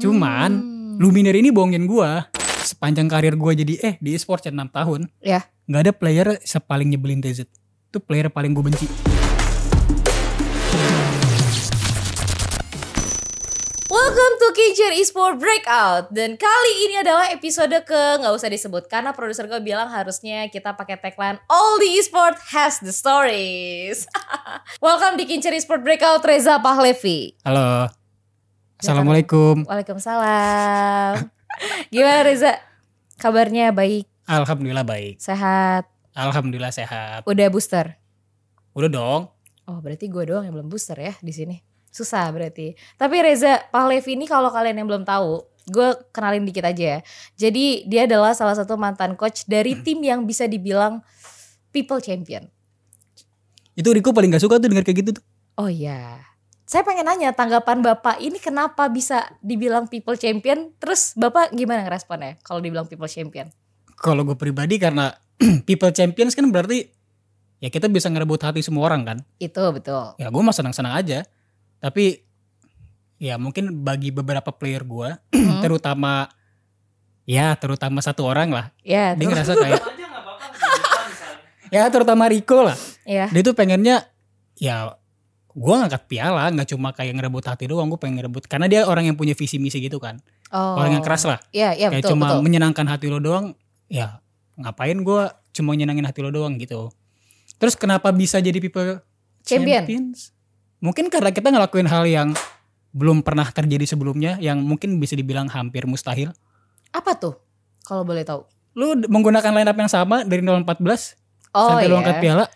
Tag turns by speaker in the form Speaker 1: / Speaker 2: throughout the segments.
Speaker 1: Cuman Luminar ini bohongin gua sepanjang karir gua jadi eh di esports ya 6 tahun.
Speaker 2: Iya.
Speaker 1: nggak ada player sepaling nyebelin TZ. Itu player paling gue benci.
Speaker 3: Welcome to Kincir Esport Breakout Dan kali ini adalah episode ke nggak usah disebut Karena produser gue bilang harusnya kita pakai tagline All the Esport has the stories Welcome di Kincir Esport Breakout Reza Pahlevi
Speaker 1: Halo. Assalamualaikum.
Speaker 3: Waalaikumsalam Gimana Reza? Kabarnya baik,
Speaker 1: Alhamdulillah baik.
Speaker 3: sehat,
Speaker 1: Alhamdulillah sehat.
Speaker 3: udah booster?
Speaker 1: Udah dong.
Speaker 3: Oh berarti gue doang yang belum booster ya di sini Susah berarti Tapi Reza Pahlevi ini kalau kalian yang belum tahu Gue kenalin dikit aja ya Jadi dia adalah salah satu mantan coach
Speaker 1: Hmm.
Speaker 3: dari tim yang bisa dibilang people champion.
Speaker 1: Itu Riko paling gak suka tuh denger kayak gitu tuh.
Speaker 3: Oh iya. Saya pengen nanya tanggapan Bapak ini kenapa bisa dibilang people champion? Terus Bapak gimana ngeresponnya kalau dibilang people champion?
Speaker 1: Kalau gue pribadi karena people champions kan berarti ya kita bisa ngerebut hati semua orang kan.
Speaker 3: Itu betul.
Speaker 1: Ya gue mah senang-senang aja. Tapi ya mungkin bagi beberapa player gua
Speaker 3: Hmm.
Speaker 1: terutama ya terutama satu orang lah
Speaker 3: Ya,
Speaker 1: dia
Speaker 3: tuh.
Speaker 1: ngerasa kayak ya terutama Rico lah
Speaker 3: ya.
Speaker 1: dia tuh pengennya ya gue ngangkat piala nggak cuma kayak ngerebut hati doang gue pengen ngerebut karena dia orang yang punya visi misi gitu kan
Speaker 3: Oh.
Speaker 1: orang yang keras lah
Speaker 3: Iya, iya
Speaker 1: kayak
Speaker 3: betul,
Speaker 1: cuma
Speaker 3: betul.
Speaker 1: menyenangkan hati lo doang ya ngapain gue cuma nyenangin hati lo doang gitu terus kenapa bisa jadi people
Speaker 3: Champion.
Speaker 1: champions mungkin karena kita ngelakuin hal yang belum pernah terjadi sebelumnya yang mungkin bisa dibilang hampir mustahil
Speaker 3: Apa tuh? Kalau boleh tahu.
Speaker 1: lu d- menggunakan line up yang sama dari 014
Speaker 3: Oh
Speaker 1: sampai
Speaker 3: iya.
Speaker 1: lu angkat piala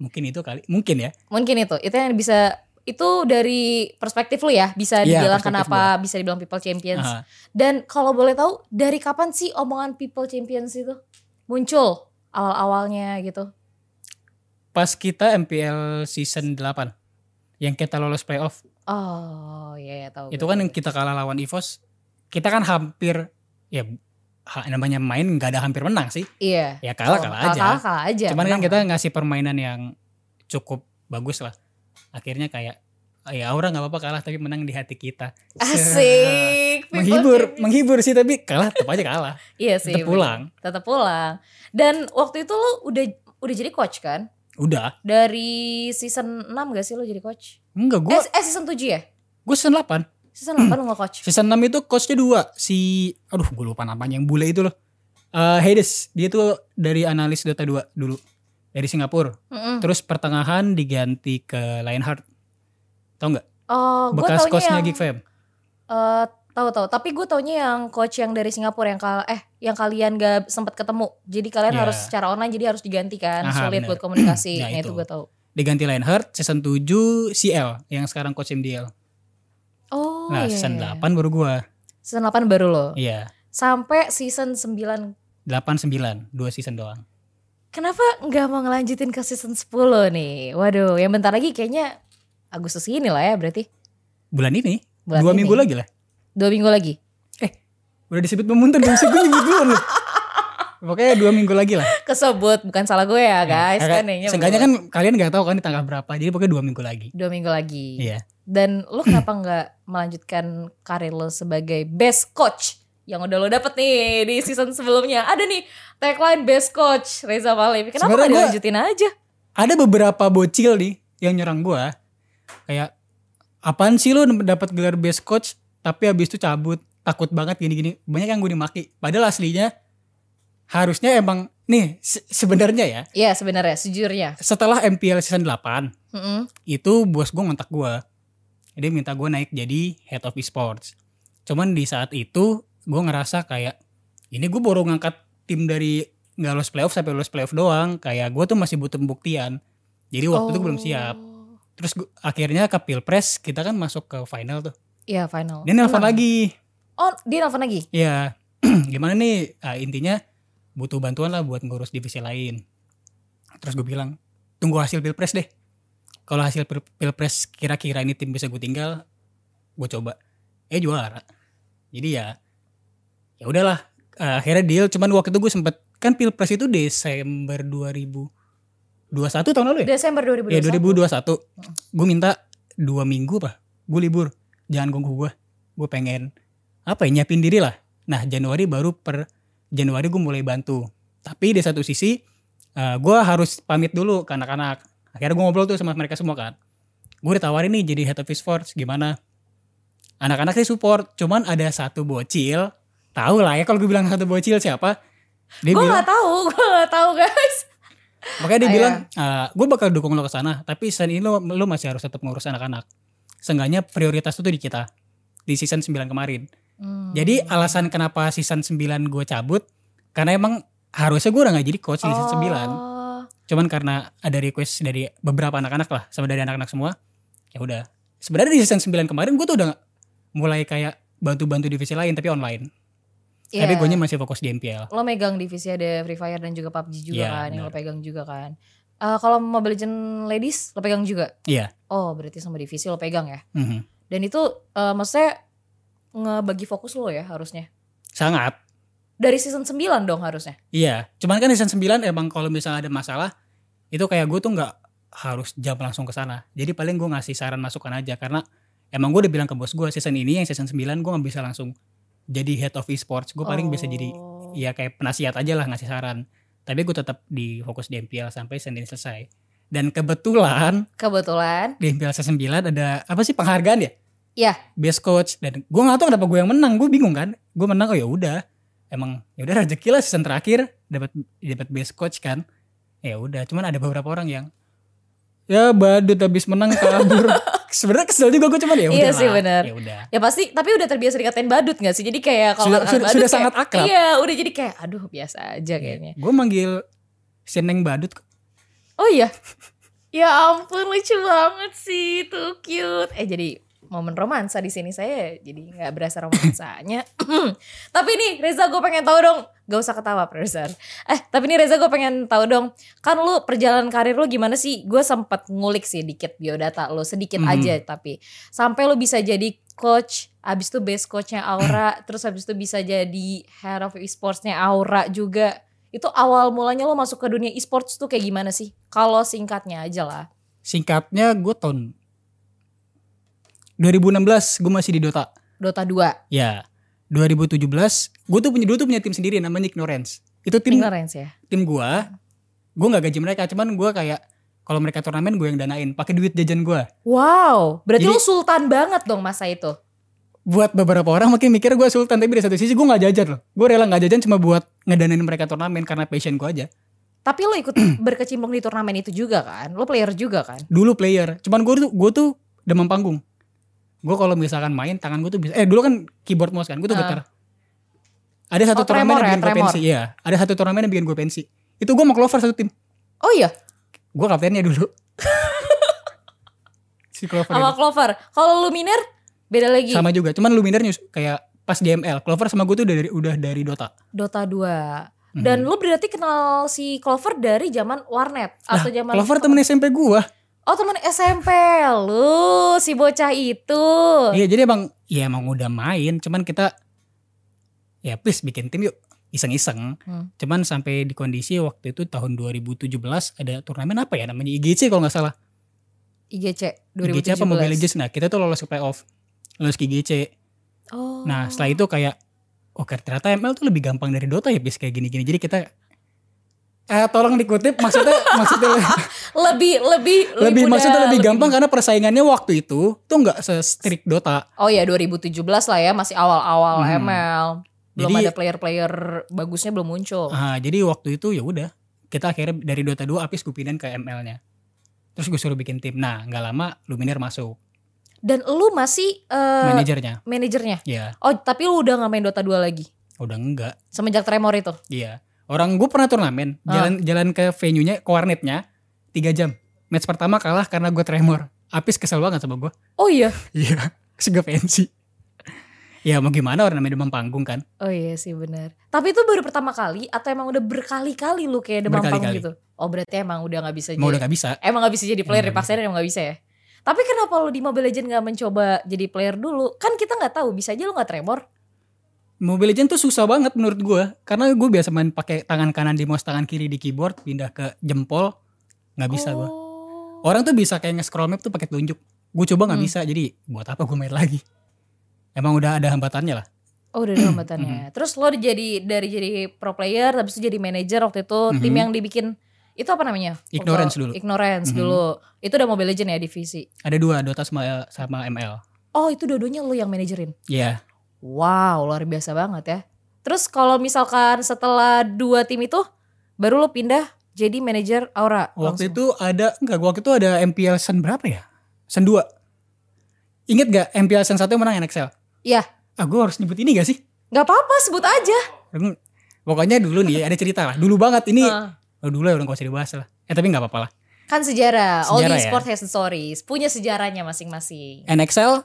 Speaker 1: mungkin itu kali mungkin ya
Speaker 3: Mungkin itu. Itu yang bisa itu dari perspektif lu ya bisa
Speaker 1: Iya,
Speaker 3: dibilang
Speaker 1: perspektif
Speaker 3: kenapa bisa dibilang people champions.
Speaker 1: Ah,
Speaker 3: Dan kalau boleh tahu dari kapan sih omongan people champions itu muncul awal-awalnya gitu?
Speaker 1: pas kita MPL season 8 yang kita lolos playoff
Speaker 3: Oh iya ya tahu.
Speaker 1: itu
Speaker 3: gue.
Speaker 1: kan yang kita kalah lawan Evos kita kan hampir ya ha- namanya main nggak ada hampir menang sih
Speaker 3: iya.
Speaker 1: ya kalah
Speaker 3: Oh,
Speaker 1: kalah aja
Speaker 3: Kalah kalah aja.
Speaker 1: cuman kan
Speaker 3: Menang.
Speaker 1: kita ngasih permainan yang cukup bagus lah akhirnya kayak ya Aura nggak apa-apa kalah tapi menang di hati kita
Speaker 3: asik. people
Speaker 1: menghibur
Speaker 3: champions.
Speaker 1: menghibur sih tapi kalah tetap aja kalah
Speaker 3: Iya sih.
Speaker 1: tetap pulang
Speaker 3: Tetap pulang. Dan waktu itu lu udah udah jadi coach kan?
Speaker 1: udah
Speaker 3: Dari season 6 gak sih lu jadi coach?
Speaker 1: enggak gue
Speaker 3: eh, eh season 7 ya?
Speaker 1: gue season 8
Speaker 3: Season 8 lu nge-coach?
Speaker 1: season 6 itu coachnya dua si aduh gue lupa namanya yang bule itu loh Eh Hades dia tuh dari analis Dota 2 dulu dari Singapura
Speaker 3: Mm-mm.
Speaker 1: terus pertengahan diganti ke Lionheart tau nggak
Speaker 3: Oh, gue
Speaker 1: bekas
Speaker 3: taunya
Speaker 1: coachnya
Speaker 3: yang
Speaker 1: Geek Fam
Speaker 3: eh, tahu tahu. Tapi gue taunya yang coach yang dari Singapura yang kal eh yang kalian gak sempat ketemu. Jadi kalian
Speaker 1: Iya.
Speaker 3: harus secara online jadi harus digantikan.
Speaker 1: Aha,
Speaker 3: Sulit
Speaker 1: bener.
Speaker 3: buat komunikasi.
Speaker 1: Nah,
Speaker 3: nah,
Speaker 1: itu.
Speaker 3: itu, gue tahu.
Speaker 1: diganti Lionheart season 7 CL yang sekarang coach MDL
Speaker 3: Oh,
Speaker 1: nah
Speaker 3: iya.
Speaker 1: season 8 baru gua
Speaker 3: Season 8 baru lo.
Speaker 1: iya
Speaker 3: Sampai season 9.
Speaker 1: 8 9 dua season doang
Speaker 3: Kenapa nggak mau ngelanjutin ke season 10 nih? Waduh, yang bentar lagi kayaknya Agustus ini lah ya berarti.
Speaker 1: bulan ini
Speaker 3: Bulan
Speaker 1: dua
Speaker 3: ini.
Speaker 1: minggu lagi lah
Speaker 3: Dua minggu lagi.
Speaker 1: udah disebut memuntun belum sih gue nyebut duluan loh pokoknya dua minggu lagi lah
Speaker 3: Kesebut, bukan salah gue ya guys.
Speaker 1: Kakak-
Speaker 3: kan kayaknya
Speaker 1: Iya, Seenggaknya
Speaker 3: belum.
Speaker 1: kan kalian nggak tahu kan di tanggal berapa jadi pokoknya dua minggu lagi
Speaker 3: Dua minggu lagi.
Speaker 1: iya
Speaker 3: Dan lu kenapa nggak melanjutkan karir lo sebagai best coach yang udah lo dapet nih di season sebelumnya? Ada nih tagline best coach Reza Pahlevi. Kenapa
Speaker 1: Sebenarnya
Speaker 3: nggak
Speaker 1: gua-
Speaker 3: dilanjutin aja?
Speaker 1: ada beberapa bocil nih yang nyerang gua kayak apaan sih lu dapat gelar best coach tapi habis itu cabut takut banget gini-gini banyak yang gue dimaki padahal aslinya harusnya emang nih se- sebenarnya ya
Speaker 3: Iya sebenarnya, sejujurnya.
Speaker 1: setelah MPL season 8
Speaker 3: Mm-mm.
Speaker 1: itu bos gue ngontak gue dia minta gue naik jadi head of esports cuman di saat itu gue ngerasa kayak ini gue baru ngangkat tim dari nggak lolos playoff sampai lolos playoff doang kayak gue tuh masih butuh pembuktian jadi waktu itu gue belum
Speaker 3: Oh.
Speaker 1: siap terus gua- akhirnya ke pilpres kita kan masuk ke final tuh
Speaker 3: Iya final.
Speaker 1: dia nelfon
Speaker 3: Menang.
Speaker 1: lagi
Speaker 3: Oh dia nelfon lagi?
Speaker 1: ya gimana nih Ah, intinya butuh bantuan lah buat ngurus divisi lain terus gue bilang tunggu hasil pilpres deh kalau hasil pil- pilpres kira-kira ini tim bisa gue tinggal gue coba eh juara jadi ya ya udahlah Ah, akhirnya deal cuman waktu itu gue sempet kan pilpres itu Desember 2021 tahun lalu ya
Speaker 3: Desember 2021.
Speaker 1: Ya 2021 Gue minta dua minggu apa Gue libur Jangan ganggu gue gue pengen apa ya nyiapin diri lah nah Januari baru per Januari gue mulai bantu tapi di satu sisi eh, gue harus pamit dulu ke anak-anak akhirnya gue ngobrol tuh sama mereka semua kan gue ditawarin nih jadi head of e force gimana anak-anak sih support cuman ada satu bocil tahu lah ya kalau gue bilang satu bocil siapa dia
Speaker 3: Gue
Speaker 1: bilang
Speaker 3: nggak tahu, gue nggak tahu guys.
Speaker 1: Makanya dia
Speaker 3: Ah,
Speaker 1: bilang, "Ah, gue bakal dukung lo ke sana, tapi season ini lo, lo masih harus tetap ngurus anak-anak. Seenggaknya prioritas itu di kita di season 9 kemarin. Jadi
Speaker 3: Hmm.
Speaker 1: alasan kenapa season 9 gue cabut karena emang harusnya gue udah gak jadi coach di season 9.
Speaker 3: Oh.
Speaker 1: Cuman karena ada request dari beberapa anak-anak lah sama dari anak-anak semua. Ya udah. Sebenarnya di season 9 kemarin gue tuh udah mulai kayak bantu-bantu divisi lain tapi online.
Speaker 3: Iya.
Speaker 1: Tapi gue masih fokus di MPL.
Speaker 3: Lo megang divisi ada Free Fire dan juga PUBG juga
Speaker 1: Iya,
Speaker 3: kan, yang lo pegang juga kan. Eh kalau Mobile Legends Ladies lo pegang juga?
Speaker 1: Iya.
Speaker 3: Oh, berarti sama divisi lo pegang ya.
Speaker 1: Mhm.
Speaker 3: Dan itu eh, maksudnya ngebagi fokus lo ya harusnya.
Speaker 1: Sangat
Speaker 3: Dari season 9 dong harusnya.
Speaker 1: Iya, cuman kan season 9 emang kalau misalnya ada masalah itu kayak gue tuh nggak harus jam langsung ke sana. Jadi paling gue ngasih saran masukan aja karena emang gue udah bilang ke bos gue season ini yang season 9 gue nggak bisa langsung jadi head of esports. Gue paling bisa jadi
Speaker 3: Oh.
Speaker 1: ya kayak penasihat aja lah ngasih saran. Tapi gue tetap di fokus di MPL sampai season ini selesai. Dan kebetulan
Speaker 3: Kebetulan
Speaker 1: di MPL season 9 ada apa sih penghargaan ya?
Speaker 3: Iya.
Speaker 1: Best coach dan gue nggak tahu kenapa gue yang menang, gue bingung kan. Gue menang oh ya udah. Emang ya udah rezeki lah season terakhir dapat dapat best coach kan. Ya udah, cuman ada beberapa orang yang ya badut habis menang kabur. Sebenarnya kesel juga gue cuman ya udah.
Speaker 3: Iya sih, benar.
Speaker 1: Ya udah.
Speaker 3: ya pasti tapi udah terbiasa dikatain badut gak sih? Jadi kayak kalau
Speaker 1: Sudah-
Speaker 3: kata-kata
Speaker 1: sudah-
Speaker 3: badut
Speaker 1: sudah
Speaker 3: kayak-
Speaker 1: sangat akrab. Iya.
Speaker 3: Iya, udah jadi kayak aduh biasa aja kayaknya.
Speaker 1: Gue manggil Seneng badut
Speaker 3: Oh iya. Ya ampun lucu banget sih, tuh cute. Eh jadi momen romansa di sini saya jadi nggak berasa romansanya. tapi nih Reza gue pengen tahu dong, gak usah ketawa produser. Eh tapi nih Reza gue pengen tahu dong, kan lu perjalanan karir lu gimana sih? Gue sempat ngulik sih dikit biodata lu sedikit
Speaker 1: Mhm.
Speaker 3: aja tapi sampai lu bisa jadi coach, abis itu base coachnya Aura, terus abis itu bisa jadi head of esportsnya Aura juga itu awal mulanya lo masuk ke dunia esports tuh kayak gimana sih? Kalau singkatnya aja lah.
Speaker 1: Singkatnya gue tahun 2016 gue masih di Dota.
Speaker 3: Dota 2,
Speaker 1: Ya, 2017 gue tuh punya dulu tuh punya tim sendiri namanya Ignorance. Itu tim
Speaker 3: ignorance ya.
Speaker 1: tim gue, gue nggak gaji mereka, cuman gue kayak kalau mereka turnamen gue yang danain, pakai duit jajan gue.
Speaker 3: Wow, berarti
Speaker 1: Jadi-
Speaker 3: lo sultan banget dong masa itu.
Speaker 1: Buat beberapa orang makin mikir gue sultan, tapi di satu sisi gue nggak jajan loh. Gue rela nggak jajan cuma buat ngedanain mereka turnamen karena passion gue aja.
Speaker 3: Tapi lo ikut berkecimpung di turnamen itu juga kan? Lo player juga kan?
Speaker 1: Dulu player, cuman gue tuh gue tuh demam panggung. Gue kalau misalkan main tangan gue tuh bisa. Eh dulu kan keyboard mouse kan, gue tuh
Speaker 3: Ah.
Speaker 1: getar. Ada satu
Speaker 3: Oh,
Speaker 1: turnamen
Speaker 3: tremor
Speaker 1: yang
Speaker 3: ya,
Speaker 1: bikin gue
Speaker 3: tremor.
Speaker 1: pensi, iya. Ada satu turnamen yang bikin gue pensi. Itu gue mau Clover satu tim.
Speaker 3: Oh iya,
Speaker 1: Gue kaptennya dulu. si Clover itu.
Speaker 3: sama Clover. Kalau Luminer beda lagi.
Speaker 1: sama juga cuman Luminar news kayak pas GML Clover sama gue tuh udah dari udah dari Dota
Speaker 3: Dota 2.
Speaker 1: Hmm.
Speaker 3: Dan lo berarti kenal si Clover dari zaman warnet atau zaman
Speaker 1: Clover temen SMP gue
Speaker 3: Oh, teman SMP lu, si bocah itu.
Speaker 1: iya jadi emang ya emang udah main cuman kita ya please bikin tim yuk iseng-iseng
Speaker 3: Hmm.
Speaker 1: cuman sampai di kondisi waktu itu tahun 2017 ada turnamen apa ya namanya IGC kalau nggak salah
Speaker 3: IGC 2017.
Speaker 1: IGC apa Mobile Legends nah kita tuh lolos ke playoff lolos ke IGC
Speaker 3: Oh.
Speaker 1: nah setelah itu kayak oke ternyata ML tuh lebih gampang dari Dota ya bis kayak gini-gini jadi kita eh tolong dikutip maksudnya maksudnya
Speaker 3: lebih lebih
Speaker 1: lebih
Speaker 3: mudah,
Speaker 1: maksudnya lebih gampang karena persaingannya waktu itu tuh nggak se-strict Dota.
Speaker 3: Oh ya 2017 lah ya masih awal-awal
Speaker 1: Hmm.
Speaker 3: ML. Belum
Speaker 1: Jadi-
Speaker 3: ada player-player bagusnya belum muncul.
Speaker 1: Ah, jadi waktu itu ya udah kita akhirnya dari Dota 2 habis gue pindahin ke ML-nya. Terus gue suruh bikin tim. Nah, nggak lama Luminar masuk
Speaker 3: Dan lu masih eh,
Speaker 1: manajernya.
Speaker 3: manajernya.
Speaker 1: Ya,
Speaker 3: Oh, tapi lu udah nggak main Dota 2 lagi
Speaker 1: udah enggak.
Speaker 3: semenjak Tremor itu.
Speaker 1: Iya. Orang gue pernah turnamen,
Speaker 3: Ah.
Speaker 1: jalan jalan ke venue-nya, ke warnetnya 3 jam. Match pertama kalah karena gue tremor. Apis kesel banget sama gue.
Speaker 3: Oh iya.
Speaker 1: Iya, sega pensi. ya mau gimana orang namanya demam panggung kan.
Speaker 3: Oh iya sih benar. Tapi itu baru pertama kali atau emang udah berkali-kali lu kayak demam panggung
Speaker 1: Berkali-kali.
Speaker 3: gitu? Oh berarti emang udah nggak bisa
Speaker 1: Mau
Speaker 3: jadi.
Speaker 1: udah gak bisa.
Speaker 3: Emang nggak bisa jadi player
Speaker 1: Emang nggak
Speaker 3: dipaksain emang nggak bisa ya. Tapi kenapa lu di Mobile Legends nggak mencoba jadi player dulu? Kan kita nggak tahu bisa aja lu nggak Tremor.
Speaker 1: Mobile Legends tuh susah banget menurut gue karena gue biasa main pakai tangan kanan di mouse tangan kiri di keyboard pindah ke jempol nggak bisa gue
Speaker 3: Oh.
Speaker 1: orang tuh bisa kayak nge-scroll map tuh pakai telunjuk gue coba nggak
Speaker 3: Hmm.
Speaker 1: bisa jadi buat apa gue main lagi emang udah ada hambatannya lah.
Speaker 3: Oh udah ada hambatannya. Terus lo jadi dari jadi pro player, habis itu jadi manajer waktu itu tim
Speaker 1: Mhm.
Speaker 3: yang dibikin itu apa namanya?
Speaker 1: Ignorance
Speaker 3: Kalau-
Speaker 1: dulu.
Speaker 3: Ignorance
Speaker 1: Mhm.
Speaker 3: dulu. Itu udah Mobile Legend ya divisi.
Speaker 1: Ada dua Dota sama sama ML.
Speaker 3: Oh itu dua-duanya lo yang manajerin.
Speaker 1: Iya.
Speaker 3: Wow luar biasa banget ya. Terus kalau misalkan setelah dua tim itu baru lo pindah jadi manajer Aura.
Speaker 1: Waktu itu ada enggak waktu itu ada MPL Sen berapa ya? Sen 2. Ingat gak MPL Sen 1 yang menang NXL?
Speaker 3: Iya.
Speaker 1: Ah gue harus nyebut ini gak sih?
Speaker 3: Gak apa-apa sebut aja.
Speaker 1: Hmm, Pokoknya dulu nih ada cerita lah. Dulu banget ini.
Speaker 3: Ah.
Speaker 1: Oh, dulu ya udah gak usah dibahas lah. Eh tapi gak apa-apa lah.
Speaker 3: Kan sejarah, all
Speaker 1: Sejarah
Speaker 3: the
Speaker 1: ya.
Speaker 3: sport has the stories, punya sejarahnya masing-masing.
Speaker 1: NXL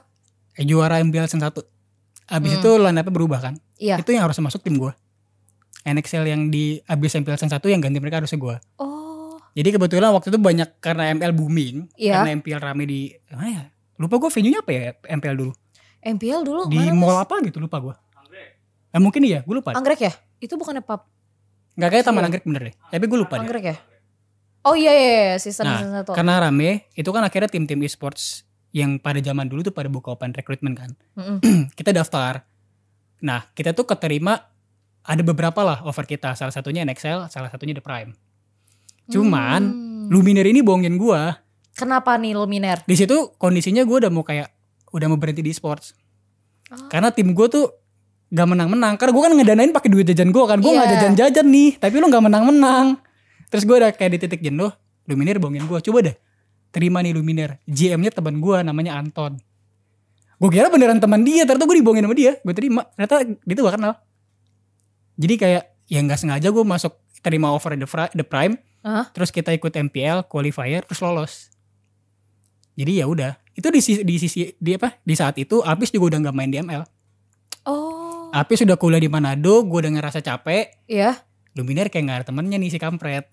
Speaker 1: eh, juara MPL Sen 1. Abis
Speaker 3: Hmm.
Speaker 1: itu line up-nya berubah kan?
Speaker 3: Iya.
Speaker 1: Itu yang harus masuk tim gue. NXL yang di abis MPL Sen 1 yang ganti mereka harusnya gue.
Speaker 3: Oh,
Speaker 1: Jadi kebetulan waktu itu banyak karena ML booming,
Speaker 3: Iya.
Speaker 1: karena MPL rame di mana ya? Lupa gue venue-nya apa ya MPL dulu?
Speaker 3: MPL dulu
Speaker 1: Di
Speaker 3: kemana,
Speaker 1: mall
Speaker 3: Mas?
Speaker 1: apa gitu lupa gue. Eh, mungkin iya, gue lupa.
Speaker 3: Anggrek ya? Itu bukannya pub
Speaker 1: Gak kayak Taman Anggrek bener deh. Tapi gue lupa deh.
Speaker 3: Anggrek ya? Oh iya iya, iya. season
Speaker 1: Nah,
Speaker 3: season satu.
Speaker 1: Karena rame, itu kan akhirnya tim-tim e-sports yang pada zaman dulu tuh pada buka open recruitment kan.
Speaker 3: Mm-mm.
Speaker 1: kita daftar. Nah, kita tuh keterima ada beberapa lah offer kita. Salah satunya NXL, salah satunya The Prime. Cuman,
Speaker 3: Hmm.
Speaker 1: Luminer ini bohongin gua.
Speaker 3: kenapa nih Luminer?
Speaker 1: Nah, Di situ kondisinya gua udah mau kayak udah mau berhenti di sports.
Speaker 3: Ah.
Speaker 1: Karena tim gua tuh gak menang-menang. Karena gua kan ngedanain pakai duit jajan gua kan. Gua nggak
Speaker 3: Iya.
Speaker 1: jajan-jajan nih, tapi lu gak menang-menang. Terus gua udah kayak di titik jenuh, Luminer bohongin gua. Coba deh terima nih Luminer. GM-nya teman gua namanya Anton. Gue kira beneran teman dia, ternyata gue dibohongin sama dia. Gue terima, ternyata dia tuh gak kenal. Jadi kayak ya nggak sengaja gue masuk terima offer the, Fri- The prime,
Speaker 3: Hah?
Speaker 1: terus kita ikut MPL qualifier terus lolos. Jadi ya udah, itu di sisi, di sisi di apa? Di saat itu Apis juga udah nggak main di ML.
Speaker 3: Oh,
Speaker 1: Apis udah kuliah di Manado, gue udah ngerasa capek.
Speaker 3: iya.
Speaker 1: Luminer kayak nggak ada temennya nih si kampret.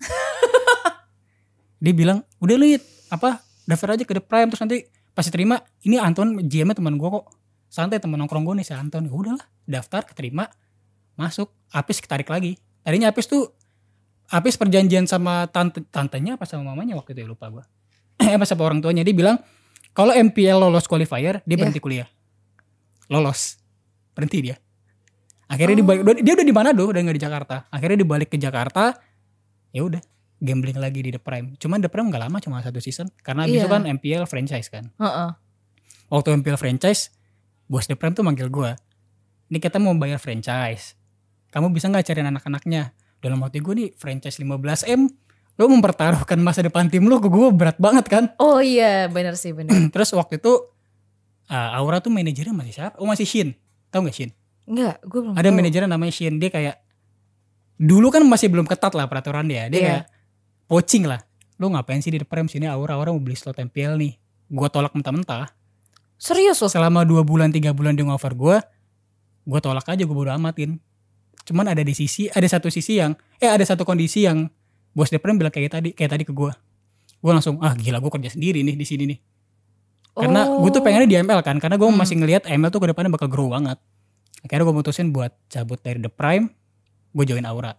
Speaker 1: dia bilang, udah lihat apa daftar aja ke The Prime terus nanti pasti terima. Ini Anton GM-nya teman gue kok. Santai teman nongkrong gue nih si Anton. Ya udahlah, daftar, keterima, masuk. Apis ketarik lagi. Tadinya Apis tuh Apis perjanjian sama tante tantenya apa sama mamanya waktu itu ya lupa gue. apa sama orang tuanya dia bilang kalau MPL lolos qualifier dia
Speaker 3: Iya.
Speaker 1: berhenti kuliah. Lolos. Berhenti dia. Akhirnya
Speaker 3: Oh.
Speaker 1: dibalik udah- dia udah di Manado udah nggak di Jakarta. Akhirnya dibalik ke Jakarta. Ya udah gambling lagi di The Prime. Cuman The Prime nggak lama cuma satu season karena abis itu
Speaker 3: Iya.
Speaker 1: kan MPL franchise kan.
Speaker 3: Heeh.
Speaker 1: Waktu MPL franchise bos The Prime tuh manggil gua. Ini kita mau bayar franchise. Kamu bisa nggak cariin anak-anaknya? Dalam hati gue nih franchise 15M lo mempertaruhkan masa depan tim lo ke gue berat banget kan.
Speaker 3: Oh iya, bener sih bener.
Speaker 1: Terus waktu itu uh, Aura tuh manajernya masih siapa? Oh masih Shin. Tahu nggak Shin?
Speaker 3: Enggak, gue belum.
Speaker 1: Ada
Speaker 3: tahu.
Speaker 1: manajernya namanya Shin. Dia kayak dulu kan masih belum ketat lah peraturan dia. Dia
Speaker 3: Iya.
Speaker 1: kayak poaching lah. Lu ngapain sih di depan sini Aura Aura mau beli slot MPL nih. Gua tolak mentah-mentah.
Speaker 3: Serius loh.
Speaker 1: Selama dua bulan tiga bulan dia ngover gua, gua tolak aja gue bodo amatin. Cuman ada di sisi ada satu sisi yang eh ada satu kondisi yang bos Deprem bilang kayak tadi kayak tadi ke gua. Gua langsung ah gila gua kerja sendiri nih di sini nih. Karena gue tuh pengennya di ML kan, karena gue
Speaker 3: Oh. Hmm.
Speaker 1: masih ngelihat ML tuh ke depannya bakal grow banget. Akhirnya gue mutusin buat cabut dari The Prime, gue join Aura.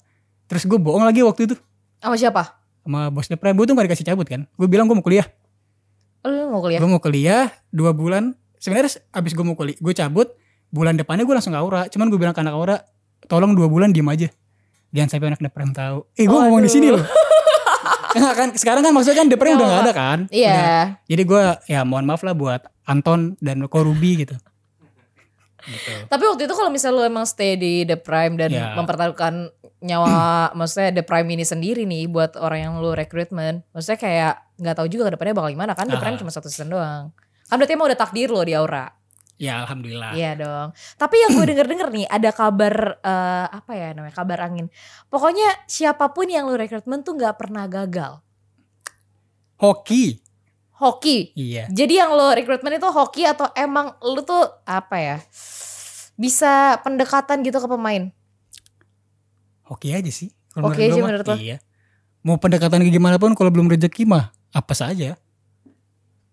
Speaker 1: Terus gue bohong lagi waktu itu
Speaker 3: Oh, sama siapa?
Speaker 1: sama bos The Prime, gue tuh gak dikasih cabut kan. Gue bilang gue mau kuliah,
Speaker 3: Lu mau kuliah?
Speaker 1: gue mau kuliah dua bulan. Sebenarnya abis gue mau kuliah, gue cabut bulan depannya gue langsung ke Aura. Cuman gue bilang ke anak Aura, tolong dua bulan diem aja. Jangan sampai anak The Prime tahu. Eh gue ngomong di
Speaker 3: Waduh.
Speaker 1: sini loh. Enggak kan, sekarang kan maksudnya kan The Prime
Speaker 3: Gak
Speaker 1: udah gak
Speaker 3: apa-apa.
Speaker 1: ada kan.
Speaker 3: Iya.
Speaker 1: Udah. Jadi gue ya mohon maaf lah buat Anton dan Ko Ruby gitu. gitu.
Speaker 3: Tapi waktu itu kalau misalnya lu emang stay di The Prime dan
Speaker 1: Iya.
Speaker 3: mempertaruhkan nyawa, maksudnya The Prime ini sendiri nih buat orang yang lu rekrutmen, maksudnya kayak nggak tahu juga ke depannya bakal gimana kan The
Speaker 1: Ah.
Speaker 3: Prime cuma satu season doang. Kan berarti emang udah takdir lo di Aura.
Speaker 1: Ya alhamdulillah.
Speaker 3: Iya dong. Tapi yang gue denger-denger nih ada kabar eh, apa ya namanya kabar angin. Pokoknya siapapun yang lu rekrutmen tuh nggak pernah gagal.
Speaker 1: Hoki.
Speaker 3: Hoki.
Speaker 1: Iya.
Speaker 3: Jadi yang lo rekrutmen itu hoki atau emang lu tuh apa ya? Bisa pendekatan gitu ke pemain.
Speaker 1: Hoki aja sih.
Speaker 3: Hoki aja
Speaker 1: gua mah.
Speaker 3: menurut lo?
Speaker 1: Iya. Mau pendekatan kayak gimana pun kalau belum rezeki mah apa saja.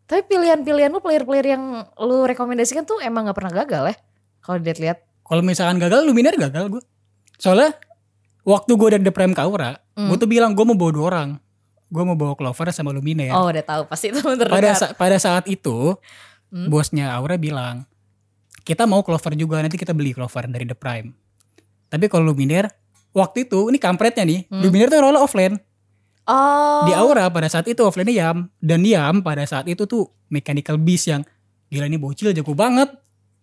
Speaker 3: Tapi pilihan-pilihan lu player-player yang lu rekomendasikan tuh emang nggak pernah gagal ya? Kalau dilihat-lihat.
Speaker 1: Kalau misalkan gagal Luminer gagal gue. Soalnya waktu gue dari The Prime Kaura,
Speaker 3: Hmm.
Speaker 1: gue tuh bilang gue mau bawa dua orang. Gue mau bawa Clover sama Luminer.
Speaker 3: Oh udah tahu pasti itu
Speaker 1: Iya. pada
Speaker 3: terdekat.
Speaker 1: sa- pada saat itu
Speaker 3: Hmm.
Speaker 1: bosnya Aura bilang kita mau Clover juga nanti kita beli Clover dari The Prime. Tapi kalau Luminer waktu itu ini kampretnya nih,
Speaker 3: Hmm.
Speaker 1: Luminer tuh roll offline.
Speaker 3: Oh.
Speaker 1: Di Aura pada saat itu offline-nya Yam dan Yam pada saat itu tuh Mechanical Beast yang gila ini bocil jago banget.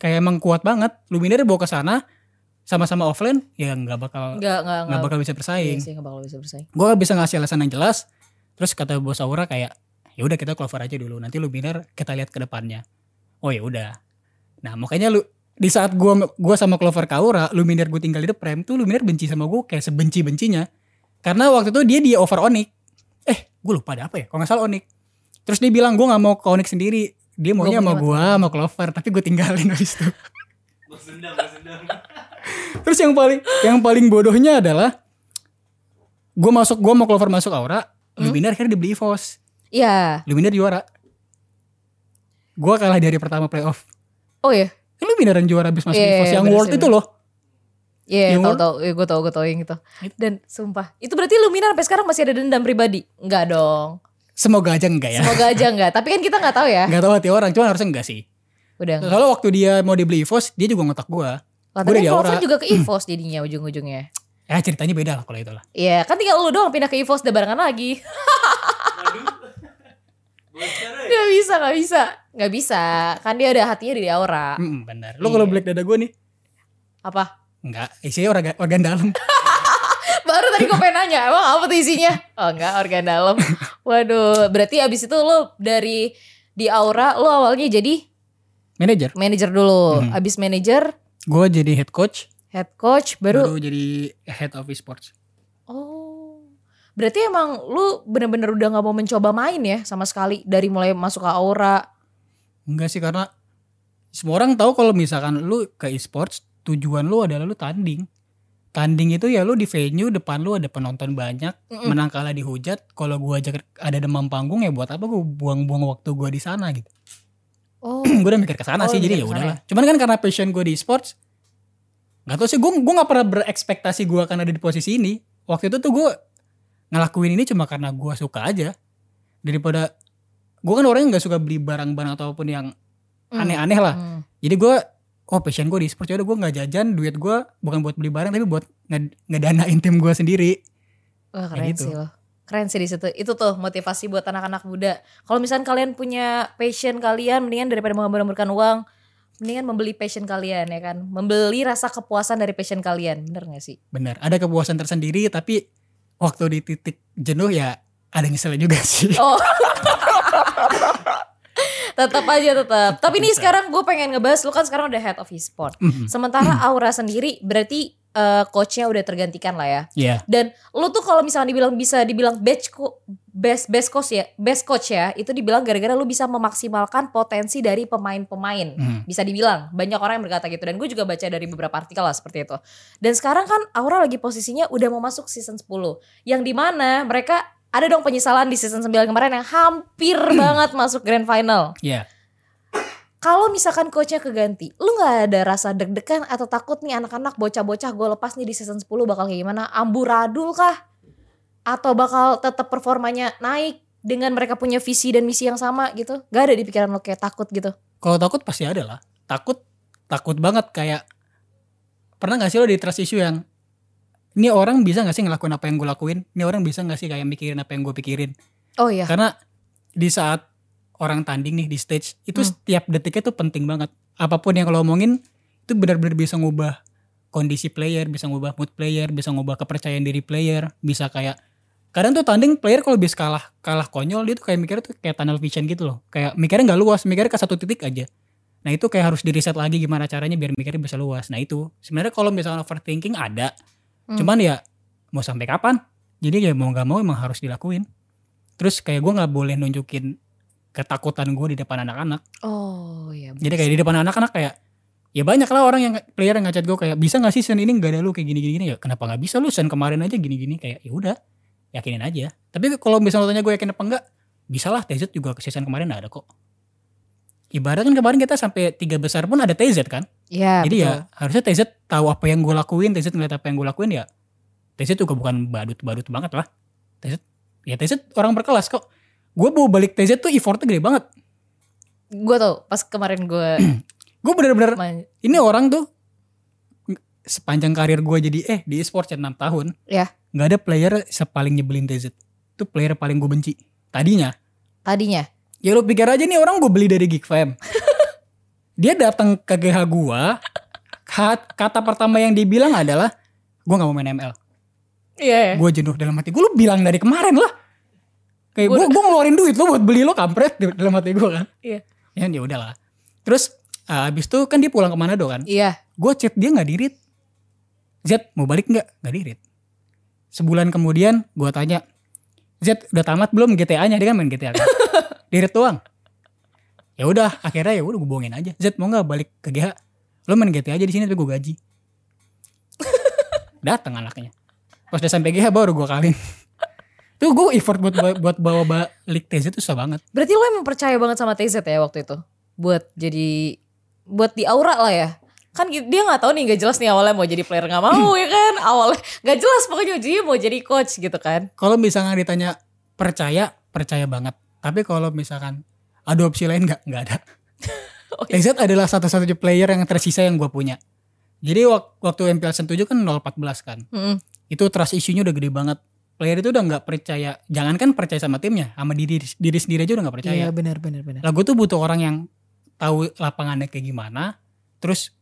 Speaker 1: Kayak emang kuat banget. Luminer bawa ke sana sama-sama offline ya nggak bakal
Speaker 3: Enggak, enggak,
Speaker 1: nggak bakal bisa
Speaker 3: Iya
Speaker 1: bersaing.
Speaker 3: sih, nggak bakal bisa bersaing.
Speaker 1: Gue gak bisa ngasih alasan yang jelas. Terus kata bos Aura kayak ya udah kita Clover aja dulu. Nanti Luminer kita lihat ke depannya. Oh ya udah. Nah makanya lu di saat gua gua sama Clover ke Aura, Luminer gue tinggal di The Prime tuh Luminer benci sama gue kayak sebenci bencinya. Karena waktu itu dia di over Onyx. Eh gue lupa ada apa ya? Kalau nggak salah Onyx. Terus dia bilang gue nggak mau ke Onyx sendiri. Dia maunya
Speaker 3: Gua
Speaker 1: sama
Speaker 3: punya
Speaker 1: gue, sama Clover. Tapi gue tinggalin habis itu.
Speaker 2: Bos dendam, bos dendam.
Speaker 1: Terus yang paling yang paling bodohnya adalah gue masuk gue mau Clover masuk Aura,
Speaker 3: Hmm?
Speaker 1: Luminer akhirnya dibeli Evos,
Speaker 3: Iya.
Speaker 1: Luminer juara. Gue kalah dari pertama playoff.
Speaker 3: Oh iya.
Speaker 1: Eh, Lumineran juara abis masuk
Speaker 3: Iya,
Speaker 1: EVOS yang
Speaker 3: bener
Speaker 1: World
Speaker 3: sih,
Speaker 1: itu loh.
Speaker 3: Iya, Gitu.
Speaker 1: Yang
Speaker 3: tahu
Speaker 1: World?
Speaker 3: tahu, Iya, gue tahu, gue tahu yang itu.
Speaker 1: Itu.
Speaker 3: Dan sumpah, itu berarti Lumina sampai sekarang masih ada dendam pribadi? Enggak dong.
Speaker 1: Semoga aja enggak ya.
Speaker 3: Semoga aja enggak, tapi kan kita enggak tahu ya.
Speaker 1: Enggak tahu hati orang, cuman harusnya enggak sih.
Speaker 3: Udah. enggak.
Speaker 1: Soalnya waktu dia mau dibeli EVOS, dia juga ngotak gue.
Speaker 3: Lah,
Speaker 1: Gua
Speaker 3: tapi
Speaker 1: dari
Speaker 3: kan Clover
Speaker 1: Aura.
Speaker 3: juga ke EVOS jadinya ujung-ujungnya.
Speaker 1: Ya ceritanya beda lah kalau itu lah.
Speaker 3: Iya, kan tinggal lu doang pindah ke EVOS udah barengan lagi.
Speaker 2: Waduh. Bos Roy.
Speaker 3: Gak bisa, gak bisa. Gak bisa, kan dia ada hatinya di Aura.
Speaker 1: Mm, bener. Lo kalau
Speaker 3: Iya.
Speaker 1: black dada gue nih,
Speaker 3: Apa?
Speaker 1: enggak. Isinya organ, organ dalam.
Speaker 3: Baru tadi gue pengen nanya, emang apa tuh isinya? Oh enggak, organ dalam. Waduh, berarti abis itu lo dari di Aura, lo awalnya jadi
Speaker 1: Manager.
Speaker 3: manajer dulu.
Speaker 1: Hmm.
Speaker 3: Abis manajer,
Speaker 1: Gue jadi head coach,
Speaker 3: head coach, baru...
Speaker 1: baru jadi head of esports.
Speaker 3: Oh, berarti emang lu bener-bener udah gak mau mencoba main ya sama sekali dari mulai masuk ke Aura.
Speaker 1: Enggak sih karena semua orang tahu kalau misalkan lu ke esports tujuan lu adalah lu tanding. Tanding itu ya lu di venue depan lu ada penonton banyak,
Speaker 3: Mm-mm.
Speaker 1: menang kalah dihujat. Kalau gua aja ada demam panggung ya buat apa gua buang-buang waktu gua di sana gitu.
Speaker 3: Oh,
Speaker 1: gua udah mikir ke sana
Speaker 3: Oh,
Speaker 1: sih
Speaker 3: lu
Speaker 1: jadi ya
Speaker 3: mikir kesana
Speaker 1: udahlah. Cuman kan karena passion gua di esports nggak tau sih gua gua nggak pernah berekspektasi gua akan ada di posisi ini. Waktu itu tuh gua ngelakuin ini cuma karena gua suka aja. Daripada gua kan orangnya nggak suka beli barang-barang ataupun yang
Speaker 3: Hmm.
Speaker 1: aneh-aneh lah.
Speaker 3: Hmm.
Speaker 1: Jadi gue oh passion gue di e-sports udah gue nggak jajan duit gue bukan buat beli barang tapi buat nge- ngedanain tim gue sendiri. Kayak
Speaker 3: Wah keren
Speaker 1: gitu.
Speaker 3: sih loh. Keren sih di situ. Itu tuh motivasi buat anak-anak muda. Kalau misalnya kalian punya passion kalian, mendingan daripada menghambar-hamburkan uang, mendingan membeli passion kalian ya kan. Membeli rasa kepuasan dari passion kalian. Bener gak sih?
Speaker 1: Bener ada kepuasan tersendiri tapi waktu di titik jenuh ya ada nyeselnya juga sih.
Speaker 3: Oh. tetap aja tetap. Tapi nih sekarang gue pengen ngebahas lu kan sekarang udah head of e-sport.
Speaker 1: Mhm,
Speaker 3: Sementara Aura sendiri berarti eh, coachnya udah tergantikan lah ya.
Speaker 1: Iya.
Speaker 3: Dan lu tuh kalau misalnya dibilang bisa dibilang best co- best best coach ya, best coach ya, itu dibilang gara-gara lu bisa memaksimalkan potensi dari pemain-pemain.
Speaker 1: Mhm.
Speaker 3: Bisa dibilang banyak orang yang berkata gitu dan gue juga baca dari beberapa artikel lah seperti itu. Dan sekarang kan Aura lagi posisinya udah mau masuk season 10. Yang dimana mereka ada dong penyesalan di season 9 kemarin yang hampir banget masuk grand final.
Speaker 1: Iya.
Speaker 3: Kalau misalkan coachnya keganti, lu nggak ada rasa deg-degan atau takut nih anak-anak bocah-bocah gue lepas nih di season 10 bakal kayak gimana? Amburadul kah? Atau bakal tetap performanya naik dengan mereka punya visi dan misi yang sama gitu? Gak ada di pikiran lo kayak takut gitu?
Speaker 1: Kalau takut pasti ada lah. Takut takut banget kayak pernah nggak sih lo di trust issue yang ini orang bisa nggak sih ngelakuin apa yang gue lakuin? Ini orang bisa nggak sih kayak mikirin apa yang gue pikirin?
Speaker 3: Oh iya.
Speaker 1: Karena di saat orang tanding nih di stage itu
Speaker 3: Hmm.
Speaker 1: setiap detiknya tuh penting banget. Apapun yang lo omongin itu benar-benar bisa ngubah kondisi player, bisa ngubah mood player, bisa ngubah kepercayaan diri player, bisa kayak kadang tuh tanding player kalau bisa kalah kalah konyol dia tuh kayak mikirnya tuh kayak tunnel vision gitu loh. Kayak mikirnya nggak luas, mikirnya ke satu titik aja. Nah itu kayak harus di reset lagi gimana caranya biar mikirnya bisa luas. Nah itu sebenarnya kalau misalnya overthinking ada,
Speaker 3: Hmm.
Speaker 1: cuman ya mau sampai kapan? Jadi ya mau nggak mau emang harus dilakuin. Terus kayak gue nggak boleh nunjukin ketakutan gue di depan anak-anak.
Speaker 3: Oh iya.
Speaker 1: Jadi kayak di depan anak-anak kayak ya banyak lah orang yang player yang ngacet gue kayak bisa nggak sih sen ini nggak ada lu kayak gini-gini ya kenapa nggak bisa lu sen kemarin aja gini-gini kayak ya udah yakinin aja. Tapi kalau misalnya lo tanya gue yakin apa enggak, bisa lah TZ juga ke season kemarin ada kok. Ibarat kan kemarin kita sampai tiga besar pun ada TZ kan.
Speaker 3: Iya.
Speaker 1: Jadi
Speaker 3: betul.
Speaker 1: ya harusnya TZ tahu apa yang gue lakuin, TZ ngeliat apa yang gue lakuin ya. TZ juga bukan badut-badut banget lah. TZ, ya TZ orang berkelas kok. Gue bawa balik TZ tuh effortnya gede banget.
Speaker 3: Gue tau pas kemarin gue
Speaker 1: Gue bener-bener
Speaker 3: Man-
Speaker 1: ini orang tuh nge- sepanjang karir gue jadi eh di esports 6 tahun
Speaker 3: Iya.
Speaker 1: nggak ada player sepaling nyebelin DZ itu player paling gue benci tadinya
Speaker 3: tadinya
Speaker 1: ya lu pikir aja nih orang gue beli dari Geekfam dia datang ke GH gue kata pertama yang dibilang adalah gue nggak mau main ML
Speaker 3: iya
Speaker 1: gue jenuh dalam hati gue lu bilang dari kemarin lah kayak
Speaker 3: Gua-
Speaker 1: gue gue ngeluarin duit lo buat beli lo kampret di- dalam hati gue kan
Speaker 3: Iya.
Speaker 1: ya ya udahlah terus ah, abis itu kan dia pulang ke Manado kan
Speaker 3: iya
Speaker 1: gue chat dia nggak dirit Z mau balik nggak nggak dirit sebulan kemudian gue tanya Z udah tamat belum GTA nya dia kan main GTA kan dirit doang ya udah akhirnya ya udah gue bohongin aja Z mau nggak balik ke GH lo main GTA aja di sini tapi gue gaji datang anaknya pas udah sampai GH baru gue kalin tuh gue effort buat buat bawa balik TZ tuh susah banget
Speaker 3: berarti lo emang percaya banget sama TZ ya waktu itu buat jadi buat di aura lah ya kan gitu- dia nggak tahu nih nggak jelas nih awalnya mau jadi player nggak mau ya kan awalnya nggak jelas pokoknya dia mau jadi coach gitu kan
Speaker 1: kalau misalnya ditanya percaya percaya banget tapi kalau misalkan ada opsi lain nggak nggak ada
Speaker 3: Oh iya.
Speaker 1: Lexat adalah satu-satunya player yang tersisa yang gue punya jadi wak- waktu MPL Season 7 kan 014 kan
Speaker 3: Mm-mm.
Speaker 1: itu trust isunya udah gede banget player itu udah nggak percaya jangankan percaya sama timnya sama diri diri sendiri aja udah nggak percaya
Speaker 3: iya benar benar benar
Speaker 1: lah gue tuh butuh orang yang tahu lapangannya kayak gimana terus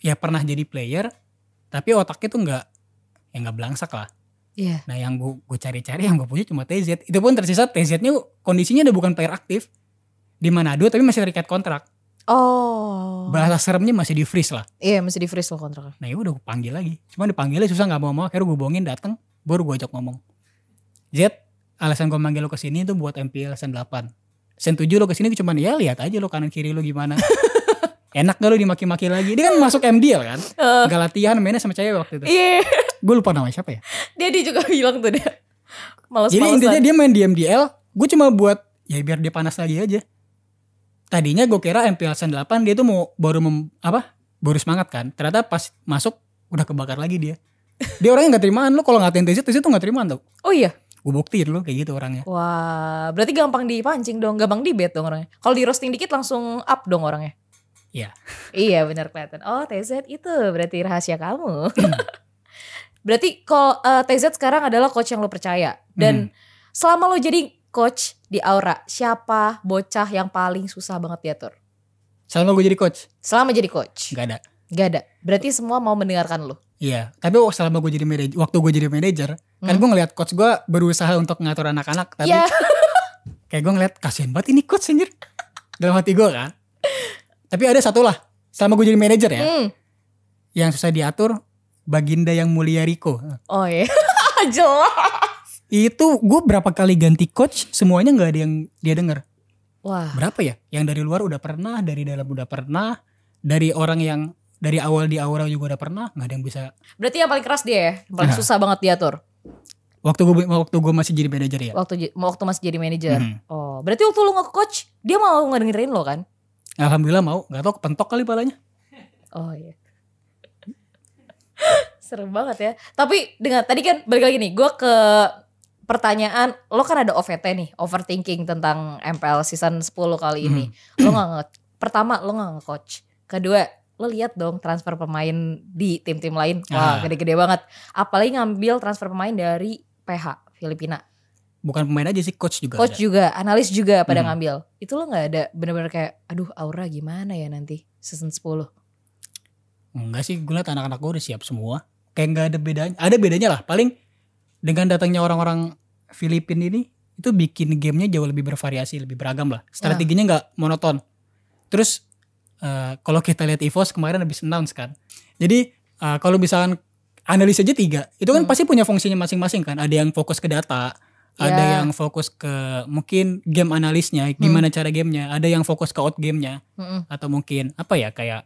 Speaker 1: ya pernah jadi player tapi otaknya tuh nggak ya nggak belangsak lah
Speaker 3: iya
Speaker 1: Nah yang gue cari-cari yang gue punya cuma TZ. Itu pun tersisa TZ-nya kondisinya udah bukan player aktif. Di Manado tapi masih terikat kontrak.
Speaker 3: oh
Speaker 1: Bahasa seremnya masih di freeze lah.
Speaker 3: iya mesti di freeze lo kontraknya
Speaker 1: Nah ya udah gue panggil lagi. Cuma dipanggilnya susah nggak mau mau. Akhirnya gue bohongin datang. Baru gue ajak ngomong. Z alasan gue manggil lo kesini itu buat MPL sen 8. Sen 7 lo kesini cuma ya lihat aja lo kanan kiri lo gimana. Enak gak lo dimaki-maki lagi? Dia kan masuk MDL kan?
Speaker 3: Eh.
Speaker 1: Gak latihan mainnya sama cewek waktu itu.
Speaker 3: iya
Speaker 1: Gue lupa namanya siapa ya?
Speaker 3: dia dia juga bilang tuh dia malas
Speaker 1: Jadi
Speaker 3: malasan
Speaker 1: intinya dia main di MDL, gue cuma buat ya biar dia panas lagi aja. Tadinya gue kira MPL Sen 8 dia tuh mau baru mem, apa? Baru semangat kan. Ternyata pas masuk udah kebakar lagi dia. Dia orangnya nggak terimaan lo kalau ngatain TZ, TZ tuh nggak terimaan tuh.
Speaker 3: oh iya
Speaker 1: Gue buktiin lo kayak gitu orangnya.
Speaker 3: wah berarti gampang dipancing dong gampang dibet dong orangnya kalau di roasting dikit langsung up dong orangnya
Speaker 1: Iya.
Speaker 3: Iya benar kelihatan. Oh TZ itu berarti rahasia kamu.
Speaker 1: Hmm.
Speaker 3: berarti kalau eh, TZ sekarang adalah coach yang lo percaya
Speaker 1: Hmm.
Speaker 3: dan selama lo jadi coach di Aura siapa bocah yang paling susah banget diatur?
Speaker 1: Selama gue jadi coach
Speaker 3: Selama jadi coach
Speaker 1: nggak ada.
Speaker 3: gak ada. Berarti semua mau mendengarkan lo.
Speaker 1: Iya, tapi wak- selama gue jadi manajer, waktu gue jadi manajer, kan
Speaker 3: Hmm.
Speaker 1: gue ngeliat coach gue berusaha untuk ngatur anak-anak, tapi
Speaker 3: Iya.
Speaker 1: kayak gue ngeliat kasihan banget ini coach anjir. Dalam hati gue kan. Tapi ada satu lah, selama gue jadi manajer ya,
Speaker 3: Hmm.
Speaker 1: yang susah diatur Baginda yang mulia Riko
Speaker 3: Oh iya. Jelas.
Speaker 1: itu gue berapa kali ganti coach semuanya nggak ada yang dia dengar
Speaker 3: Wah.
Speaker 1: berapa ya yang dari luar udah pernah dari dalam udah pernah dari orang yang dari awal di aura juga udah pernah nggak ada yang bisa
Speaker 3: Berarti yang paling keras dia ya. Yang paling
Speaker 1: Nah.
Speaker 3: susah banget diatur.
Speaker 1: waktu gue waktu gue masih jadi manajer ya
Speaker 3: Waktu j- waktu masih jadi manajer.
Speaker 1: Mhm.
Speaker 3: Oh, berarti waktu lu nge-coach, dia mau ngedengerin lo kan?
Speaker 1: alhamdulillah mau nggak tau kepentok kali palanya
Speaker 3: Oh iya. Serem banget ya. Tapi dengan tadi kan balik lagi nih, gue ke pertanyaan, lo kan ada OVT nih, overthinking tentang MPL season 10 kali ini.
Speaker 1: Hmm.
Speaker 3: Lo gak nge pertama lo gak nge-coach. Kedua, lo lihat dong transfer pemain di tim-tim lain. Wah,
Speaker 1: Ah.
Speaker 3: gede-gede banget. Apalagi ngambil transfer pemain dari PH Filipina.
Speaker 1: bukan pemain aja sih coach juga
Speaker 3: coach
Speaker 1: ada.
Speaker 3: juga, analis juga
Speaker 1: ya.
Speaker 3: pada
Speaker 1: Hmm.
Speaker 3: ngambil. Itu lo nggak ada bener-bener kayak, aduh Aura gimana ya nanti season 10.
Speaker 1: enggak sih gue liat anak-anak gue udah siap semua kayak nggak ada bedanya ada bedanya lah paling dengan datangnya orang-orang Filipin ini itu bikin gamenya jauh lebih bervariasi lebih beragam lah strateginya nggak monoton terus eh, kalau kita lihat EVOS kemarin habis announce kan jadi eh, kalau misalkan analis aja tiga itu kan
Speaker 3: Hmm.
Speaker 1: pasti punya fungsinya masing-masing kan ada yang fokus ke data ada
Speaker 3: Ya.
Speaker 1: yang fokus ke mungkin game analisnya gimana cara gamenya ada yang fokus ke out gamenya
Speaker 3: Mm-mm.
Speaker 1: atau mungkin apa ya kayak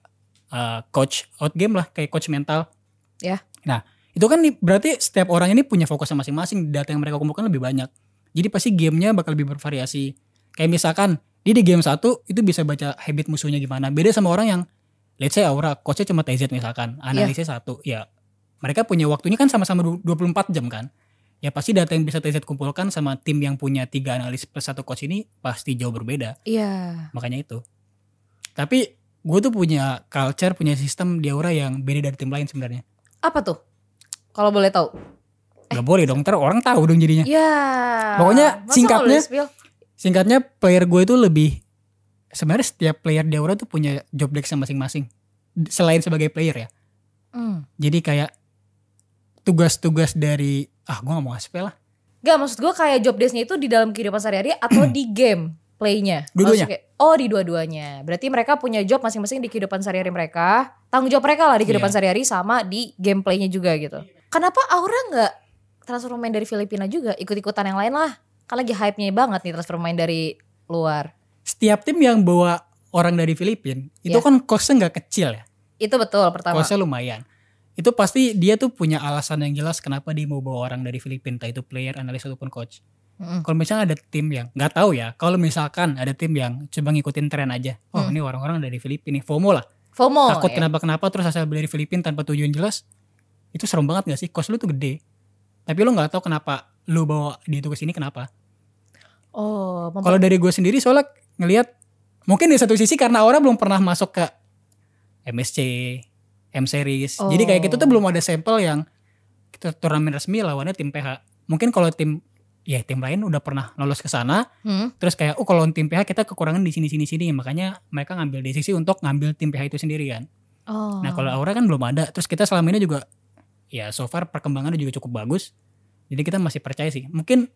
Speaker 1: uh, coach out game lah kayak coach mental
Speaker 3: Ya.
Speaker 1: nah itu kan nih, berarti setiap orang ini punya fokusnya masing-masing data yang mereka kumpulkan lebih banyak jadi pasti gamenya bakal lebih bervariasi kayak misalkan dia di game satu itu bisa baca habit musuhnya gimana beda sama orang yang let's say aura coachnya cuma TZ misalkan analisnya satu ya mereka punya waktunya kan sama-sama du- 24 jam kan ya pasti data yang bisa TZ kumpulkan sama tim yang punya tiga analis plus satu coach ini pasti jauh berbeda
Speaker 3: Iya.
Speaker 1: makanya itu tapi gue tuh punya culture, punya sistem di Aura yang beda dari tim lain sebenarnya.
Speaker 3: Apa tuh? Kalau boleh tahu.
Speaker 1: Gak boleh dong, ntar orang tahu dong jadinya.
Speaker 3: Ya.
Speaker 1: Pokoknya
Speaker 3: masa nggak
Speaker 1: singkatnya-
Speaker 3: boleh spill?
Speaker 1: Singkatnya player gue itu lebih sebenarnya setiap player di Aura tuh punya job desk masing-masing. Selain sebagai player ya.
Speaker 3: Hmm.
Speaker 1: Jadi kayak tugas-tugas dari ah gue gak mau aspel lah.
Speaker 3: Gak maksud gue kayak job desk-nya itu di dalam kehidupan sehari-hari atau di game playnya.
Speaker 1: Dua-duanya.
Speaker 3: Maksudnya- Oh di dua-duanya. Berarti mereka punya job masing-masing di kehidupan sehari-hari mereka. Tanggung jawab mereka lah di kehidupan
Speaker 1: Iya.
Speaker 3: sehari-hari sama di gameplaynya juga gitu. Kenapa Aura nggak transfer pemain dari Filipina juga ikut-ikutan yang lain lah? Kan lagi hype-nya banget nih transfer pemain dari luar.
Speaker 1: Setiap tim yang bawa orang dari Filipina itu
Speaker 3: Iya.
Speaker 1: kan costnya nggak kecil ya.
Speaker 3: Itu betul pertama.
Speaker 1: Costnya lumayan. Itu pasti dia tuh punya alasan yang jelas kenapa dia mau bawa orang dari Filipina, entah itu player, analis ataupun coach.
Speaker 3: Mm-mm.
Speaker 1: kalau misalnya ada tim yang nggak tahu ya kalau misalkan ada tim yang cuma ngikutin tren aja oh
Speaker 3: Hmm.
Speaker 1: ini orang-orang dari Filipina nih FOMO lah
Speaker 3: FOMO.
Speaker 1: takut
Speaker 3: ya.
Speaker 1: kenapa kenapa terus asal beli dari Filipina tanpa tujuan jelas itu serem banget gak sih kos lu tuh gede tapi lu nggak tahu kenapa lu bawa dia tuh ke sini kenapa
Speaker 3: Oh, mem-
Speaker 1: kalau dari gue sendiri soalnya ngelihat mungkin di satu sisi karena orang belum pernah masuk ke MSC M series jadi kayak
Speaker 3: Oh.
Speaker 1: gitu tuh belum ada sampel yang tur- turnamen resmi lawannya tim PH mungkin kalau tim ya tim lain udah pernah lolos ke sana
Speaker 3: Hmm.
Speaker 1: terus kayak oh kalau tim PH kita kekurangan di sini sini sini makanya mereka ngambil desisi untuk ngambil tim PH itu sendiri kan
Speaker 3: Oh.
Speaker 1: nah kalau Aura kan belum ada terus kita selama ini juga ya so far perkembangannya juga cukup bagus jadi kita masih percaya sih mungkin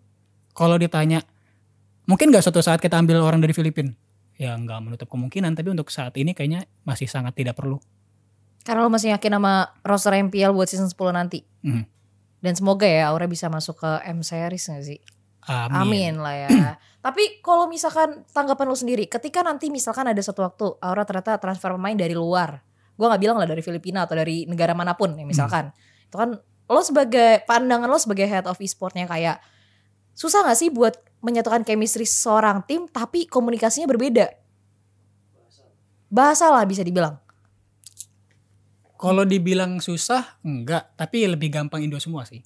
Speaker 1: kalau ditanya mungkin nggak suatu saat kita ambil orang dari Filipina ya nggak menutup kemungkinan tapi untuk saat ini kayaknya masih sangat tidak perlu
Speaker 3: Karena lo masih yakin sama roster MPL buat season 10 nanti.
Speaker 1: Mhm.
Speaker 3: Dan semoga ya Aura bisa masuk ke M series gak sih?
Speaker 1: amin,
Speaker 3: Amin, lah ya. Tapi kalau misalkan tanggapan lo sendiri, ketika nanti misalkan ada satu waktu Aura ternyata transfer pemain dari luar. Gua nggak bilang lah dari Filipina atau dari negara manapun ya misalkan. Itu kan lo sebagai pandangan lo sebagai head of e-sportnya kayak susah gak sih buat menyatukan chemistry seorang tim tapi komunikasinya berbeda? Bahasa lah bisa dibilang.
Speaker 1: kalau dibilang susah enggak tapi lebih gampang Indo semua sih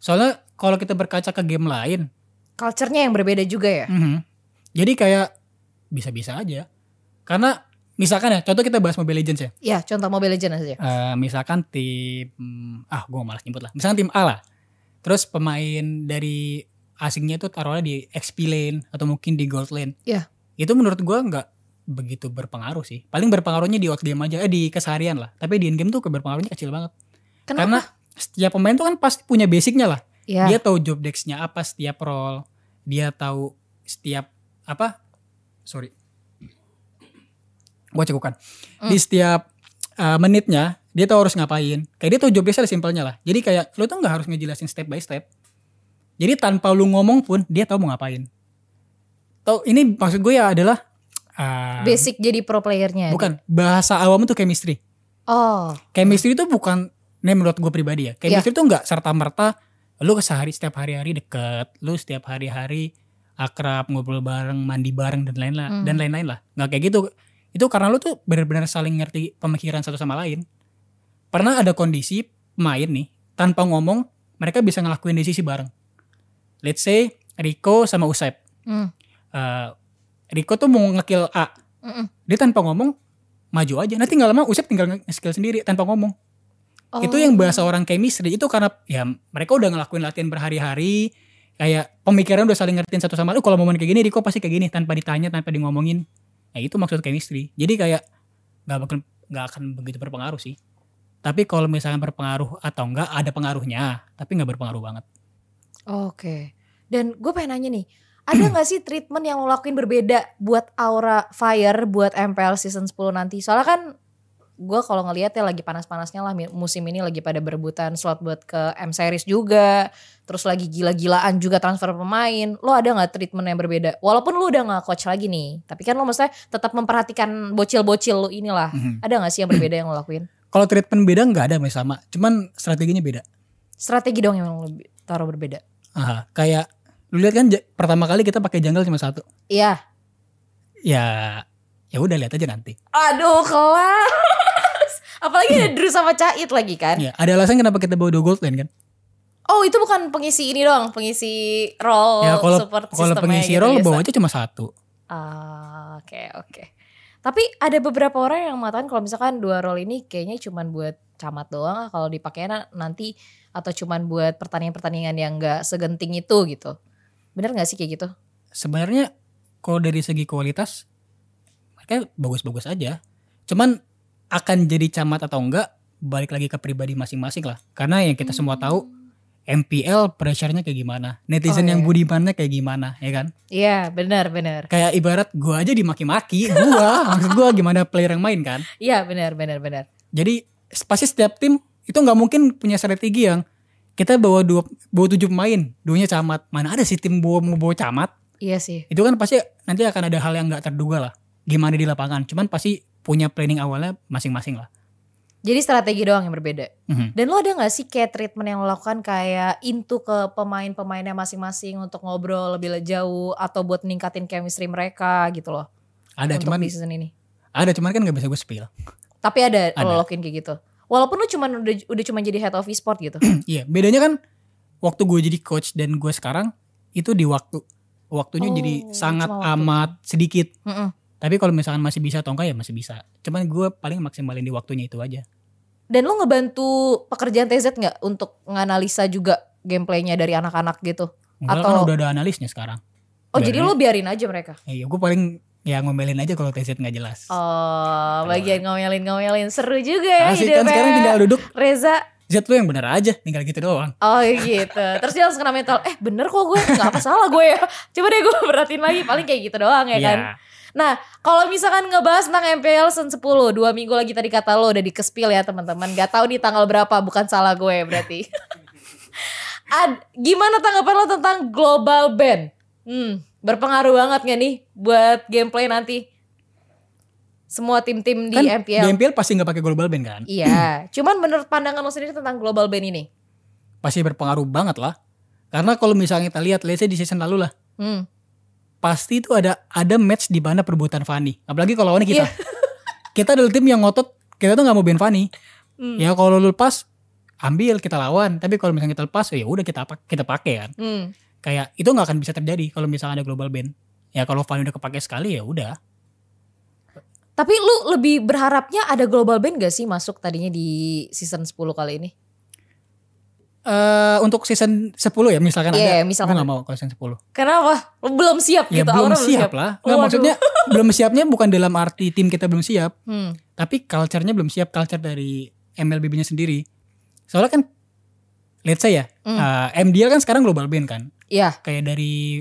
Speaker 1: soalnya kalau kita berkaca ke game lain
Speaker 3: Culture-nya yang berbeda juga ya.
Speaker 1: Mhm. Jadi kayak bisa-bisa aja. Karena misalkan ya, contoh kita bahas Mobile Legends ya.
Speaker 3: Ya, contoh Mobile Legends aja.
Speaker 1: Eh, misalkan tim ah gue malas nyebut lah. Misalkan tim A lah. Terus pemain dari asingnya itu taruhnya di XP lane atau mungkin di gold lane.
Speaker 3: Iya.
Speaker 1: Itu menurut gua nggak begitu berpengaruh sih. Paling berpengaruhnya di out game aja, eh, di keseharian lah. Tapi di in game tuh berpengaruhnya kecil banget. Karena
Speaker 3: Kenapa?
Speaker 1: setiap pemain tuh kan pasti punya basicnya lah
Speaker 3: ya.
Speaker 1: dia tahu job desk-nya apa setiap role dia tahu setiap apa sorry gua cekukan
Speaker 3: Hmm.
Speaker 1: di setiap uh, menitnya dia tahu harus ngapain kayak dia tahu job desk-nya simpelnya lah jadi kayak lu tuh nggak harus ngejelasin step by step jadi tanpa lu ngomong pun dia tahu mau ngapain tau ini maksud gue ya adalah uh,
Speaker 3: Basic jadi pro playernya.
Speaker 1: bukan bahasa awam itu chemistry
Speaker 3: Oh,
Speaker 1: chemistry itu bukan ini menurut gue pribadi ya chemistry itu nggak serta merta lu sehari setiap hari-hari deket lu setiap hari-hari akrab ngobrol bareng mandi bareng dan lain-lain
Speaker 3: Hmm.
Speaker 1: dan lain-lain lah nggak kayak gitu itu karena lu tuh benar-benar saling ngerti pemikiran satu sama lain pernah ada kondisi main nih tanpa ngomong mereka bisa ngelakuin sisi bareng let's say Rico sama Usep
Speaker 3: Hmm.
Speaker 1: Eh, Rico tuh mau ngekill A
Speaker 3: Mm-mm.
Speaker 1: dia tanpa ngomong maju aja nanti nggak lama Usep tinggal nge-skill sendiri tanpa ngomong
Speaker 3: Oh.
Speaker 1: itu yang bahasa orang chemistry itu karena ya mereka udah ngelakuin latihan berhari-hari kayak pemikiran udah saling ngertiin satu sama lain. "Oh, kalau momen kayak gini Riko pasti kayak gini tanpa ditanya tanpa di ngomongin ya itu maksud chemistry jadi kayak nggak bakal nggak akan begitu berpengaruh sih tapi kalau misalnya berpengaruh atau enggak ada pengaruhnya tapi nggak berpengaruh banget
Speaker 3: Oh, Oke. Dan gue pengen nanya nih, ada nggak sih treatment yang lo lakuin berbeda buat Aura Fire buat MPL season 10 nanti? Soalnya kan gue kalau ngelihat ya lagi panas-panasnya lah mi- musim ini lagi pada berebutan slot buat ke M series juga, terus lagi gila-gilaan juga transfer pemain. Lo ada nggak treatment yang berbeda? Walaupun lo udah nggak coach lagi nih, tapi kan lo maksudnya tetap memperhatikan bocil-bocil lo inilah. Ada nggak sih yang berbeda yang lo lakuin?
Speaker 1: kalau treatment beda nggak ada masih sama cuman strateginya beda
Speaker 3: Strategi dong yang lo bi- taruh berbeda.
Speaker 1: Aha, kayak lu lihat kan ja- pertama kali kita pakai jungle cuma satu
Speaker 3: Iya.
Speaker 1: ya ya udah lihat aja nanti
Speaker 3: Aduh kelas. Apalagi ada Drew sama Cait lagi kan.
Speaker 1: ya ada alasan kenapa kita bawa dua gold lane kan
Speaker 3: Oh itu bukan pengisi ini doang, pengisi role
Speaker 1: ya kalau
Speaker 3: Oh, support gitu
Speaker 1: kalau
Speaker 3: systemnya
Speaker 1: pengisi
Speaker 3: gitu
Speaker 1: role
Speaker 3: ya,
Speaker 1: bawa
Speaker 3: Sa?
Speaker 1: aja cuma satu
Speaker 3: Ah, Oke oke. Tapi ada beberapa orang yang mengatakan kalau misalkan dua role ini kayaknya cuman buat camat doang ah, kalau dipakainya nanti atau cuman buat pertandingan-pertandingan yang gak segenting itu gitu. Bener gak sih kayak gitu?
Speaker 1: sebenarnya kalau dari segi kualitas mereka bagus-bagus aja. Cuman akan jadi camat atau enggak balik lagi ke pribadi masing-masing lah. Karena yang kita
Speaker 3: Hmm.
Speaker 1: semua tahu MPL pressure-nya kayak gimana, netizen
Speaker 3: Oh,
Speaker 1: yang
Speaker 3: iya.
Speaker 1: budimannya kayak gimana, ya kan?
Speaker 3: Iya benar benar.
Speaker 1: Kayak ibarat gua aja dimaki-maki, gua maksud gua gimana player yang main kan?
Speaker 3: Iya benar benar benar.
Speaker 1: Jadi s- pasti setiap tim itu nggak mungkin punya strategi yang kita bawa dua bawa tujuh pemain, duanya camat. Mana ada sih tim bawa mau bawa camat?
Speaker 3: Iya sih.
Speaker 1: itu kan pasti nanti akan ada hal yang nggak terduga lah gimana di lapangan cuman pasti punya planning awalnya masing-masing lah
Speaker 3: Jadi strategi doang yang berbeda.
Speaker 1: Mhm.
Speaker 3: Dan lo ada gak sih kayak treatment yang lo lakukan kayak into ke pemain-pemainnya masing-masing untuk ngobrol lebih le- jauh atau buat ningkatin chemistry mereka gitu loh
Speaker 1: ada
Speaker 3: untuk
Speaker 1: cuman
Speaker 3: di season ini.
Speaker 1: ada cuman kan nggak bisa gue spill
Speaker 3: Tapi ada,
Speaker 1: Ada.
Speaker 3: lo lakuin kayak gitu. Walaupun lo cuman udah udah cuman jadi head of e-sport gitu.
Speaker 1: iya bedanya kan waktu gue jadi coach dan gue sekarang itu di waktu waktunya
Speaker 3: Oh,
Speaker 1: jadi sangat
Speaker 3: cuma waktu.
Speaker 1: amat sedikit
Speaker 3: Mm-mm.
Speaker 1: tapi kalau misalkan masih bisa atau enggak ya masih bisa cuman gue paling maksimalin di waktunya itu aja
Speaker 3: Dan lo ngebantu pekerjaan TZ nggak untuk nganalisa juga gameplaynya dari anak-anak gitu.
Speaker 1: Enggak
Speaker 3: Atau-
Speaker 1: kan udah ada analisnya sekarang
Speaker 3: Oh jadi
Speaker 1: Biarin.
Speaker 3: lo biarin aja mereka.
Speaker 1: iya gue paling ya ngomelin aja kalau TZ nggak jelas
Speaker 3: Oh, bagian ngomelin-ngomelin seru juga ya
Speaker 1: Asik
Speaker 3: hidupnya.
Speaker 1: kan sekarang tinggal duduk
Speaker 3: Reza
Speaker 1: Z lu yang bener aja tinggal gitu doang
Speaker 3: Oh gitu. Terus dia langsung kena mental. Eh bener kok gue nggak apa salah gue ya. Coba deh gue perhatiin lagi. Paling kayak gitu doang ya kan.
Speaker 1: Iya.
Speaker 3: Kalau misalkan ngebahas tentang MPL Season 10 Dua minggu lagi tadi kata lo udah dikespil ya teman-teman Gak tahu nih tanggal berapa bukan salah gue berarti Ad, Gimana tanggapan lo tentang global ban? Hmm, berpengaruh banget gak nih buat gameplay nanti? Semua tim-tim di
Speaker 1: kan
Speaker 3: MPL
Speaker 1: di MPL pasti nggak pakai global ban kan
Speaker 3: Iya, cuman menurut pandangan lo sendiri tentang global ban ini
Speaker 1: pasti berpengaruh banget lah. Karena kalau misalnya kita lihat, let's say di season lalu lah,
Speaker 3: Hmm,
Speaker 1: pasti itu ada ada match di mana perebutan Fanny. Apalagi kalau lawannya
Speaker 3: Iya.
Speaker 1: kita. kita adalah tim yang ngotot, kita tuh nggak mau ban Fanny.
Speaker 3: Hmm.
Speaker 1: Ya kalau lu lepas, ambil kita lawan. Tapi kalau misalnya kita lepas, ya udah kita apa kita pakai kan.
Speaker 3: hmm.
Speaker 1: Kayak itu nggak akan bisa terjadi kalau misalnya ada global ban. Ya kalau Fanny udah kepake sekali ya udah.
Speaker 3: Tapi lu lebih berharapnya ada global ban gak sih masuk tadinya di season 10 kali ini?
Speaker 1: Eh untuk season 10 ya misalkan ada.
Speaker 3: Iya,
Speaker 1: Gue
Speaker 3: misalkan
Speaker 1: nggak mau kalau season 10.
Speaker 3: Kenapa? Lu belum siap
Speaker 1: Ya
Speaker 3: gitu
Speaker 1: belum
Speaker 3: Aura
Speaker 1: siap lah. Nggak,
Speaker 3: Waduh.
Speaker 1: maksudnya belum siapnya bukan dalam arti tim kita belum siap.
Speaker 3: Hmm.
Speaker 1: tapi culture-nya belum siap culture dari MLBB-nya sendiri. Soalnya kan let's say ya,
Speaker 3: Hmm.
Speaker 1: uh, MDL kan sekarang global ban kan.
Speaker 3: Iya.
Speaker 1: Kayak dari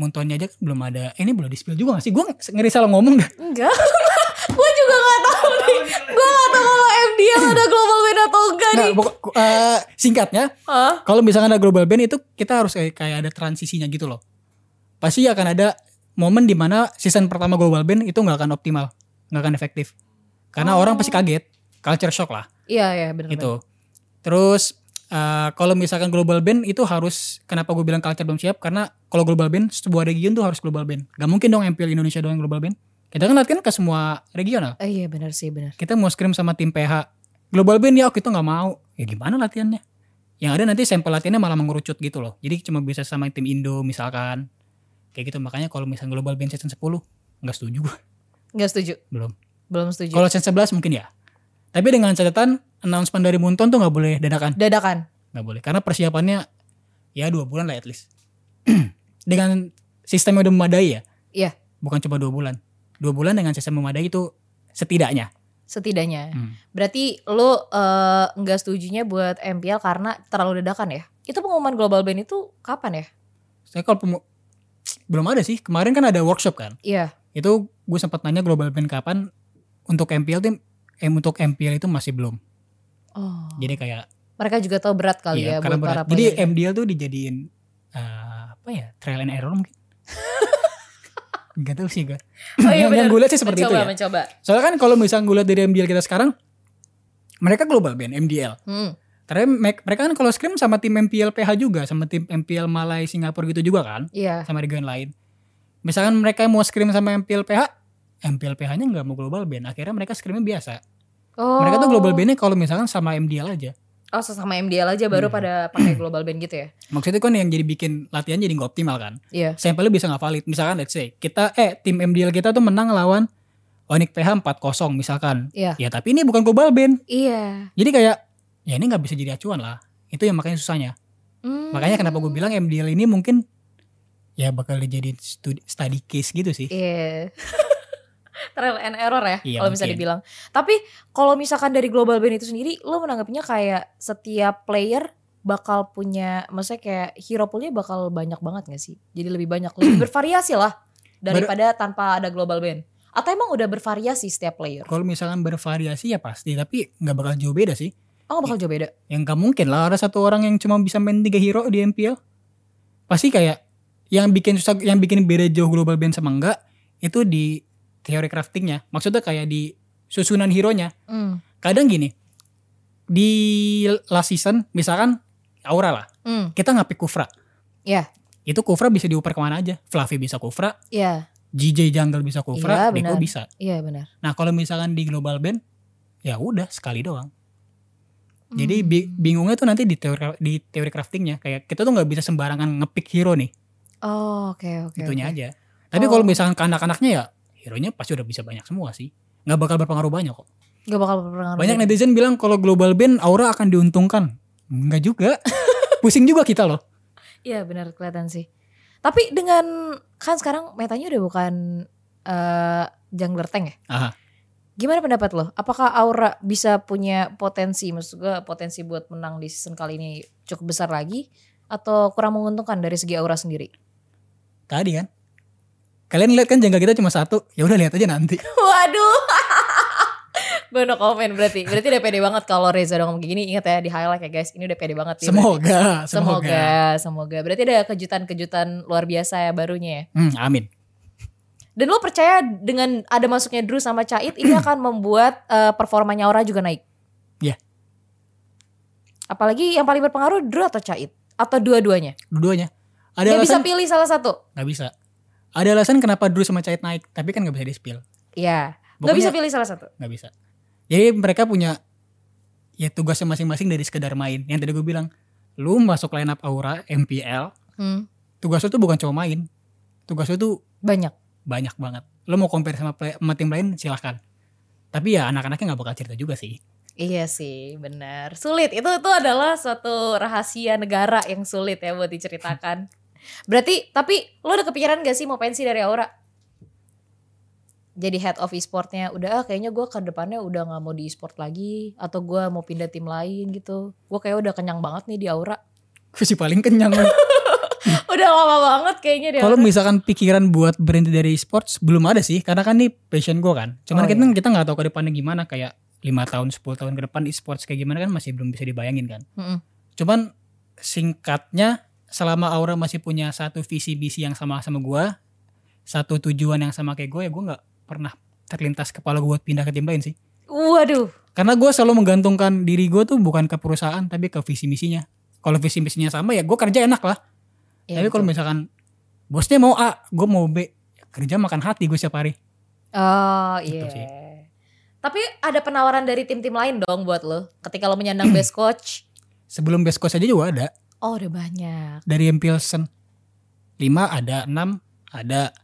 Speaker 1: Muntonnya aja kan belum ada. Eh, ini belum di spill juga gak sih? Gue ngeri salah ngomong dah.
Speaker 3: Enggak. gue juga gak tahu nih. Gue gak tahu kalau MDL ada global ban atau enggak
Speaker 1: Nah,
Speaker 3: nih.
Speaker 1: pokok- uh, singkatnya,
Speaker 3: Hah?
Speaker 1: kalau misalkan ada global ban itu kita harus kayak, kayak ada transisinya gitu loh. Pasti akan ada momen dimana season pertama global ban itu nggak akan optimal, nggak akan efektif. Karena orang pasti kaget, culture shock lah.
Speaker 3: Iya, iya benar.
Speaker 1: gitu. Terus eh, kalau misalkan global band itu harus kenapa gue bilang culture belum siap karena kalau global band sebuah region tuh harus global band. Gak mungkin dong MPL Indonesia doang yang global band. Kita kan latihan ke semua regional.
Speaker 3: Eh, iya benar sih benar.
Speaker 1: Kita mau scrim sama tim PH. Global band ya oh, kita nggak mau. Ya gimana latihannya? Yang ada nanti sampel latihannya malah mengerucut gitu loh. Jadi cuma bisa sama tim Indo misalkan. Kayak gitu makanya kalau misalnya global band season 10 nggak setuju gue.
Speaker 3: Enggak setuju.
Speaker 1: Belum.
Speaker 3: Belum setuju.
Speaker 1: Kalau season 11 mungkin ya. Tapi dengan catatan announcement dari Munton tuh nggak boleh dadakan.
Speaker 3: Dadakan.
Speaker 1: nggak boleh karena persiapannya ya dua bulan lah at least dengan sistem yang udah memadai ya
Speaker 3: Iya.
Speaker 1: bukan cuma dua bulan dua bulan dengan sistem memadai itu setidaknya
Speaker 3: Setidaknya.
Speaker 1: Hmm.
Speaker 3: Berarti lu eh, enggak setujunya buat MPL karena terlalu dadakan ya? Itu pengumuman global ban itu kapan ya?
Speaker 1: saya kalau pemu- belum ada sih kemarin kan ada workshop kan
Speaker 3: Iya.
Speaker 1: itu gue sempat nanya global band kapan untuk MPL tim em untuk MPL itu masih belum
Speaker 3: Oh.
Speaker 1: jadi kayak
Speaker 3: mereka juga tahu berat kali
Speaker 1: iya,
Speaker 3: ya,
Speaker 1: karena
Speaker 3: buat
Speaker 1: berat.
Speaker 3: para
Speaker 1: jadi
Speaker 3: player.
Speaker 1: MDL tuh dijadiin eh, apa ya trial and error mungkin Gak tahu sih gue
Speaker 3: Oh iya
Speaker 1: yang, yang
Speaker 3: benar.
Speaker 1: gue lihat sih seperti
Speaker 3: mencoba,
Speaker 1: itu ya
Speaker 3: mencoba.
Speaker 1: Soalnya kan kalau misalnya gue lihat dari MDL kita sekarang, mereka global band MDL.
Speaker 3: Hmm.
Speaker 1: Tapi me- mereka kan kalau scrim sama tim MPL PH juga, sama tim MPL Malai Singapura gitu juga kan,
Speaker 3: Iya.
Speaker 1: sama region lain. Misalkan mereka mau scrim sama MPL PH, MPL PH-nya nggak mau global band. Akhirnya mereka scrimnya biasa.
Speaker 3: Oh.
Speaker 1: Mereka tuh global bandnya kalau misalkan sama MDL aja.
Speaker 3: Oh, sesama MDL aja baru
Speaker 1: Hmm.
Speaker 3: pada pakai global band gitu ya.
Speaker 1: Maksudnya kan yang jadi bikin latihan jadi nggak optimal kan.
Speaker 3: Iya.
Speaker 1: Sampelnya bisa nggak valid. Misalkan let's say kita eh tim MDL kita tuh menang lawan Onik PH 4-0 misalkan.
Speaker 3: Iya.
Speaker 1: Ya tapi ini bukan global band.
Speaker 3: Iya.
Speaker 1: Jadi kayak ya ini nggak bisa jadi acuan lah. Itu yang makanya susahnya.
Speaker 3: Hmm.
Speaker 1: Makanya kenapa gue bilang MDL ini mungkin ya bakal jadi studi- study case gitu sih.
Speaker 3: Iya. Trial and error ya
Speaker 1: Iya,
Speaker 3: kalau bisa
Speaker 1: mungkin.
Speaker 3: dibilang. Tapi kalau misalkan dari global band itu sendiri lo menanggapinya kayak setiap player bakal punya maksudnya kayak hero poolnya bakal banyak banget gak sih? Jadi lebih banyak lebih bervariasi lah daripada tanpa ada global band. Atau emang udah bervariasi setiap player?
Speaker 1: Kalau misalkan bervariasi ya pasti, tapi nggak bakal jauh beda sih.
Speaker 3: Oh bakal jauh beda.
Speaker 1: Yang nggak mungkin lah ada satu orang yang cuma bisa main tiga hero di MPL. Pasti kayak yang bikin susah, yang bikin beda jauh global band sama enggak itu di teori craftingnya. Maksudnya kayak di susunan hero-nya.
Speaker 3: Hmm.
Speaker 1: Kadang gini di last season misalkan Aura lah,
Speaker 3: Hmm.
Speaker 1: kita ngapik Kufra.
Speaker 3: Iya.
Speaker 1: Itu Kufra bisa diuper kemana aja. Fluffy bisa Kufra,
Speaker 3: Iya,
Speaker 1: JJ Jungle bisa
Speaker 3: Iya,
Speaker 1: Kufra, Deko
Speaker 3: benar.
Speaker 1: bisa.
Speaker 3: iya benar.
Speaker 1: Nah kalau misalkan di global band, ya udah sekali doang. Jadi
Speaker 3: Hmm.
Speaker 1: bi- bingungnya tuh nanti di teori di teori craftingnya kayak kita tuh nggak bisa sembarangan ngepick hero nih,
Speaker 3: Oh, oke oke.
Speaker 1: gitunya
Speaker 3: oke.
Speaker 1: aja. Tapi
Speaker 3: Oh.
Speaker 1: kalau misalkan ke anak-anaknya ya hero-nya pasti udah bisa banyak semua sih. Nggak bakal berpengaruh banyak kok.
Speaker 3: Gak bakal berpengaruh.
Speaker 1: Banyak netizen bilang kalau global band Aura akan diuntungkan. Nggak juga. Pusing juga kita loh.
Speaker 3: Iya benar kelihatan sih. Tapi dengan kan sekarang metanya udah bukan eh, jungler tank ya.
Speaker 1: Aha.
Speaker 3: Gimana pendapat lo? Apakah Aura bisa punya potensi, maksud gue potensi buat menang di season kali ini cukup besar lagi? Atau kurang menguntungkan dari segi Aura sendiri?
Speaker 1: Tadi kan. Kalian lihat kan jangka kita cuma satu. Ya udah lihat aja nanti.
Speaker 3: Waduh. Gue no comment berarti. Berarti udah pede banget kalau Reza udah ngomong kayak gini. Ingat ya di highlight ya guys. Ini udah pede banget. dia berarti.
Speaker 1: Semoga, semoga.
Speaker 3: Semoga, semoga. Berarti ada kejutan-kejutan luar biasa ya barunya ya.
Speaker 1: Hmm, amin.
Speaker 3: Dan lo percaya dengan ada masuknya Drew sama Cait ini akan membuat eh, performanya Aura juga naik?
Speaker 1: Iya.
Speaker 3: Apalagi yang paling berpengaruh Drew atau Cait atau dua-duanya?
Speaker 1: Dua-duanya. Ada
Speaker 3: Dia bisa
Speaker 1: alasan
Speaker 3: pilih salah satu.
Speaker 1: nggak bisa. Ada alasan kenapa Drew sama Cahit naik, tapi kan nggak bisa di-spill.
Speaker 3: Iya. Gak
Speaker 1: Pokoknya
Speaker 3: bisa pilih salah satu.
Speaker 1: nggak bisa. Jadi mereka punya ya tugasnya masing-masing dari sekedar main. Yang tadi gue bilang, lu masuk line up Aura MPL,
Speaker 3: Hmm,
Speaker 1: tugas lu tuh bukan cuma main. Tugas lu tuh
Speaker 3: banyak.
Speaker 1: banyak banget. Lu mau compare sama, play- sama tim lain silahkan. Tapi ya anak-anaknya nggak bakal cerita juga sih.
Speaker 3: Iya sih, benar. Sulit. Itu itu adalah suatu rahasia negara yang sulit ya buat diceritakan. Berarti tapi lo udah kepikiran gak sih mau pensi dari Aura? Jadi head of e-sportnya udah ah, kayaknya gue ke depannya udah nggak mau di e-sport lagi atau gua mau pindah tim lain gitu. Gue kayak udah kenyang banget nih di Aura.
Speaker 1: Gue sih paling kenyang.
Speaker 3: Udah lama banget kayaknya di
Speaker 1: Kalau
Speaker 3: Aura.
Speaker 1: misalkan pikiran buat berhenti dari esports belum ada sih, karena kan ini passion gue kan. Cuman
Speaker 3: Oh,
Speaker 1: kita
Speaker 3: iya.
Speaker 1: kita nggak tahu ke depannya gimana kayak lima tahun 10 tahun ke depan esports kayak gimana kan masih belum bisa dibayangin kan.
Speaker 3: Mm-mm.
Speaker 1: Cuman singkatnya selama Aura masih punya satu visi misi yang sama sama gua, satu tujuan yang sama kayak gue ya gue nggak pernah terlintas kepala gue buat pindah ke tim lain sih.
Speaker 3: Waduh.
Speaker 1: Karena gue selalu menggantungkan diri gue tuh bukan ke perusahaan tapi ke visi misinya. Kalau visi misinya sama ya gue kerja enak lah.
Speaker 3: Ya,
Speaker 1: tapi kalau
Speaker 3: betul.
Speaker 1: misalkan bosnya mau A, gue mau B, ya kerja makan hati gue setiap hari.
Speaker 3: Oh
Speaker 1: Gitu
Speaker 3: iya.
Speaker 1: sih.
Speaker 3: Tapi ada penawaran dari tim-tim lain dong buat lo ketika lo menyandang best coach.
Speaker 1: Sebelum best coach aja juga ada
Speaker 3: Oh udah banyak.
Speaker 1: dari M Pilsen. 5 ada, 6 ada.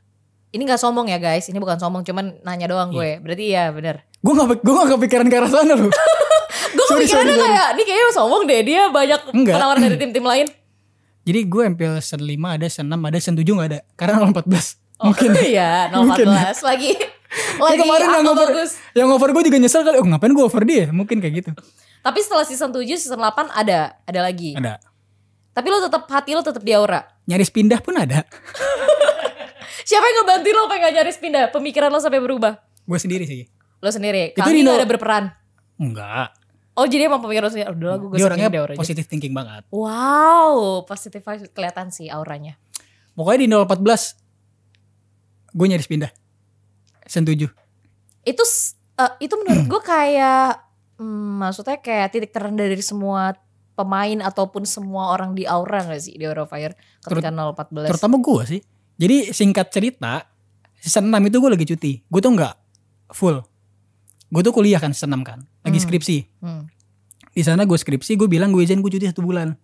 Speaker 3: Ini gak sombong ya guys, ini bukan sombong cuman nanya doang
Speaker 1: Iya.
Speaker 3: gue. Berarti ya bener.
Speaker 1: Gue gak, gue gak kepikiran ke arah sana loh.
Speaker 3: Gue
Speaker 1: Sorry,
Speaker 3: kepikirannya
Speaker 1: sorry, sorry.
Speaker 3: kayak, ini kayaknya sombong deh dia banyak
Speaker 1: Enggak.
Speaker 3: penawaran dari tim-tim lain.
Speaker 1: Jadi gue M Pilsen 5 ada, Sen 6 ada, Sen 7 gak ada. Karena 014.
Speaker 3: Oh,
Speaker 1: Mungkin.
Speaker 3: Iya, 014 lagi. Lagi
Speaker 1: Ya, kemarin yang
Speaker 3: apa
Speaker 1: over,
Speaker 3: bagus.
Speaker 1: yang over gue juga nyesel kali. Oh ngapain gue over dia? Mungkin kayak gitu.
Speaker 3: Tapi setelah season 7, season 8 ada, ada lagi.
Speaker 1: Ada.
Speaker 3: Tapi lo tetap hati lo tetap di aura.
Speaker 1: Nyaris pindah pun ada.
Speaker 3: Siapa yang ngebantuin lo pengen nyaris pindah? Pemikiran lo sampai berubah?
Speaker 1: Gue sendiri sih.
Speaker 3: Lo sendiri,
Speaker 1: Itu
Speaker 3: kali
Speaker 1: Dino.
Speaker 3: ada berperan.
Speaker 1: Enggak.
Speaker 3: Oh jadi emang pemikiran lo Oh, sendiri, udah lah gue
Speaker 1: Dia orangnya
Speaker 3: di aura aja.
Speaker 1: positive thinking banget.
Speaker 3: Wow, positif kelihatan sih auranya.
Speaker 1: Pokoknya di 014 gue nyaris pindah. Sen 7.
Speaker 3: itu s- eh, itu menurut gue kayak hmm, maksudnya kayak titik terendah dari semua pemain ataupun semua orang di Aura gak sih di Aura Fire ketika 014
Speaker 1: Terutama gue sih. Jadi singkat cerita, season 6 itu gue lagi cuti. Gue tuh nggak full. Gue tuh kuliah kan season 6 kan. Lagi
Speaker 3: Hmm.
Speaker 1: skripsi.
Speaker 3: Hmm.
Speaker 1: Di sana gue skripsi, gue bilang gue izin gue cuti satu bulan.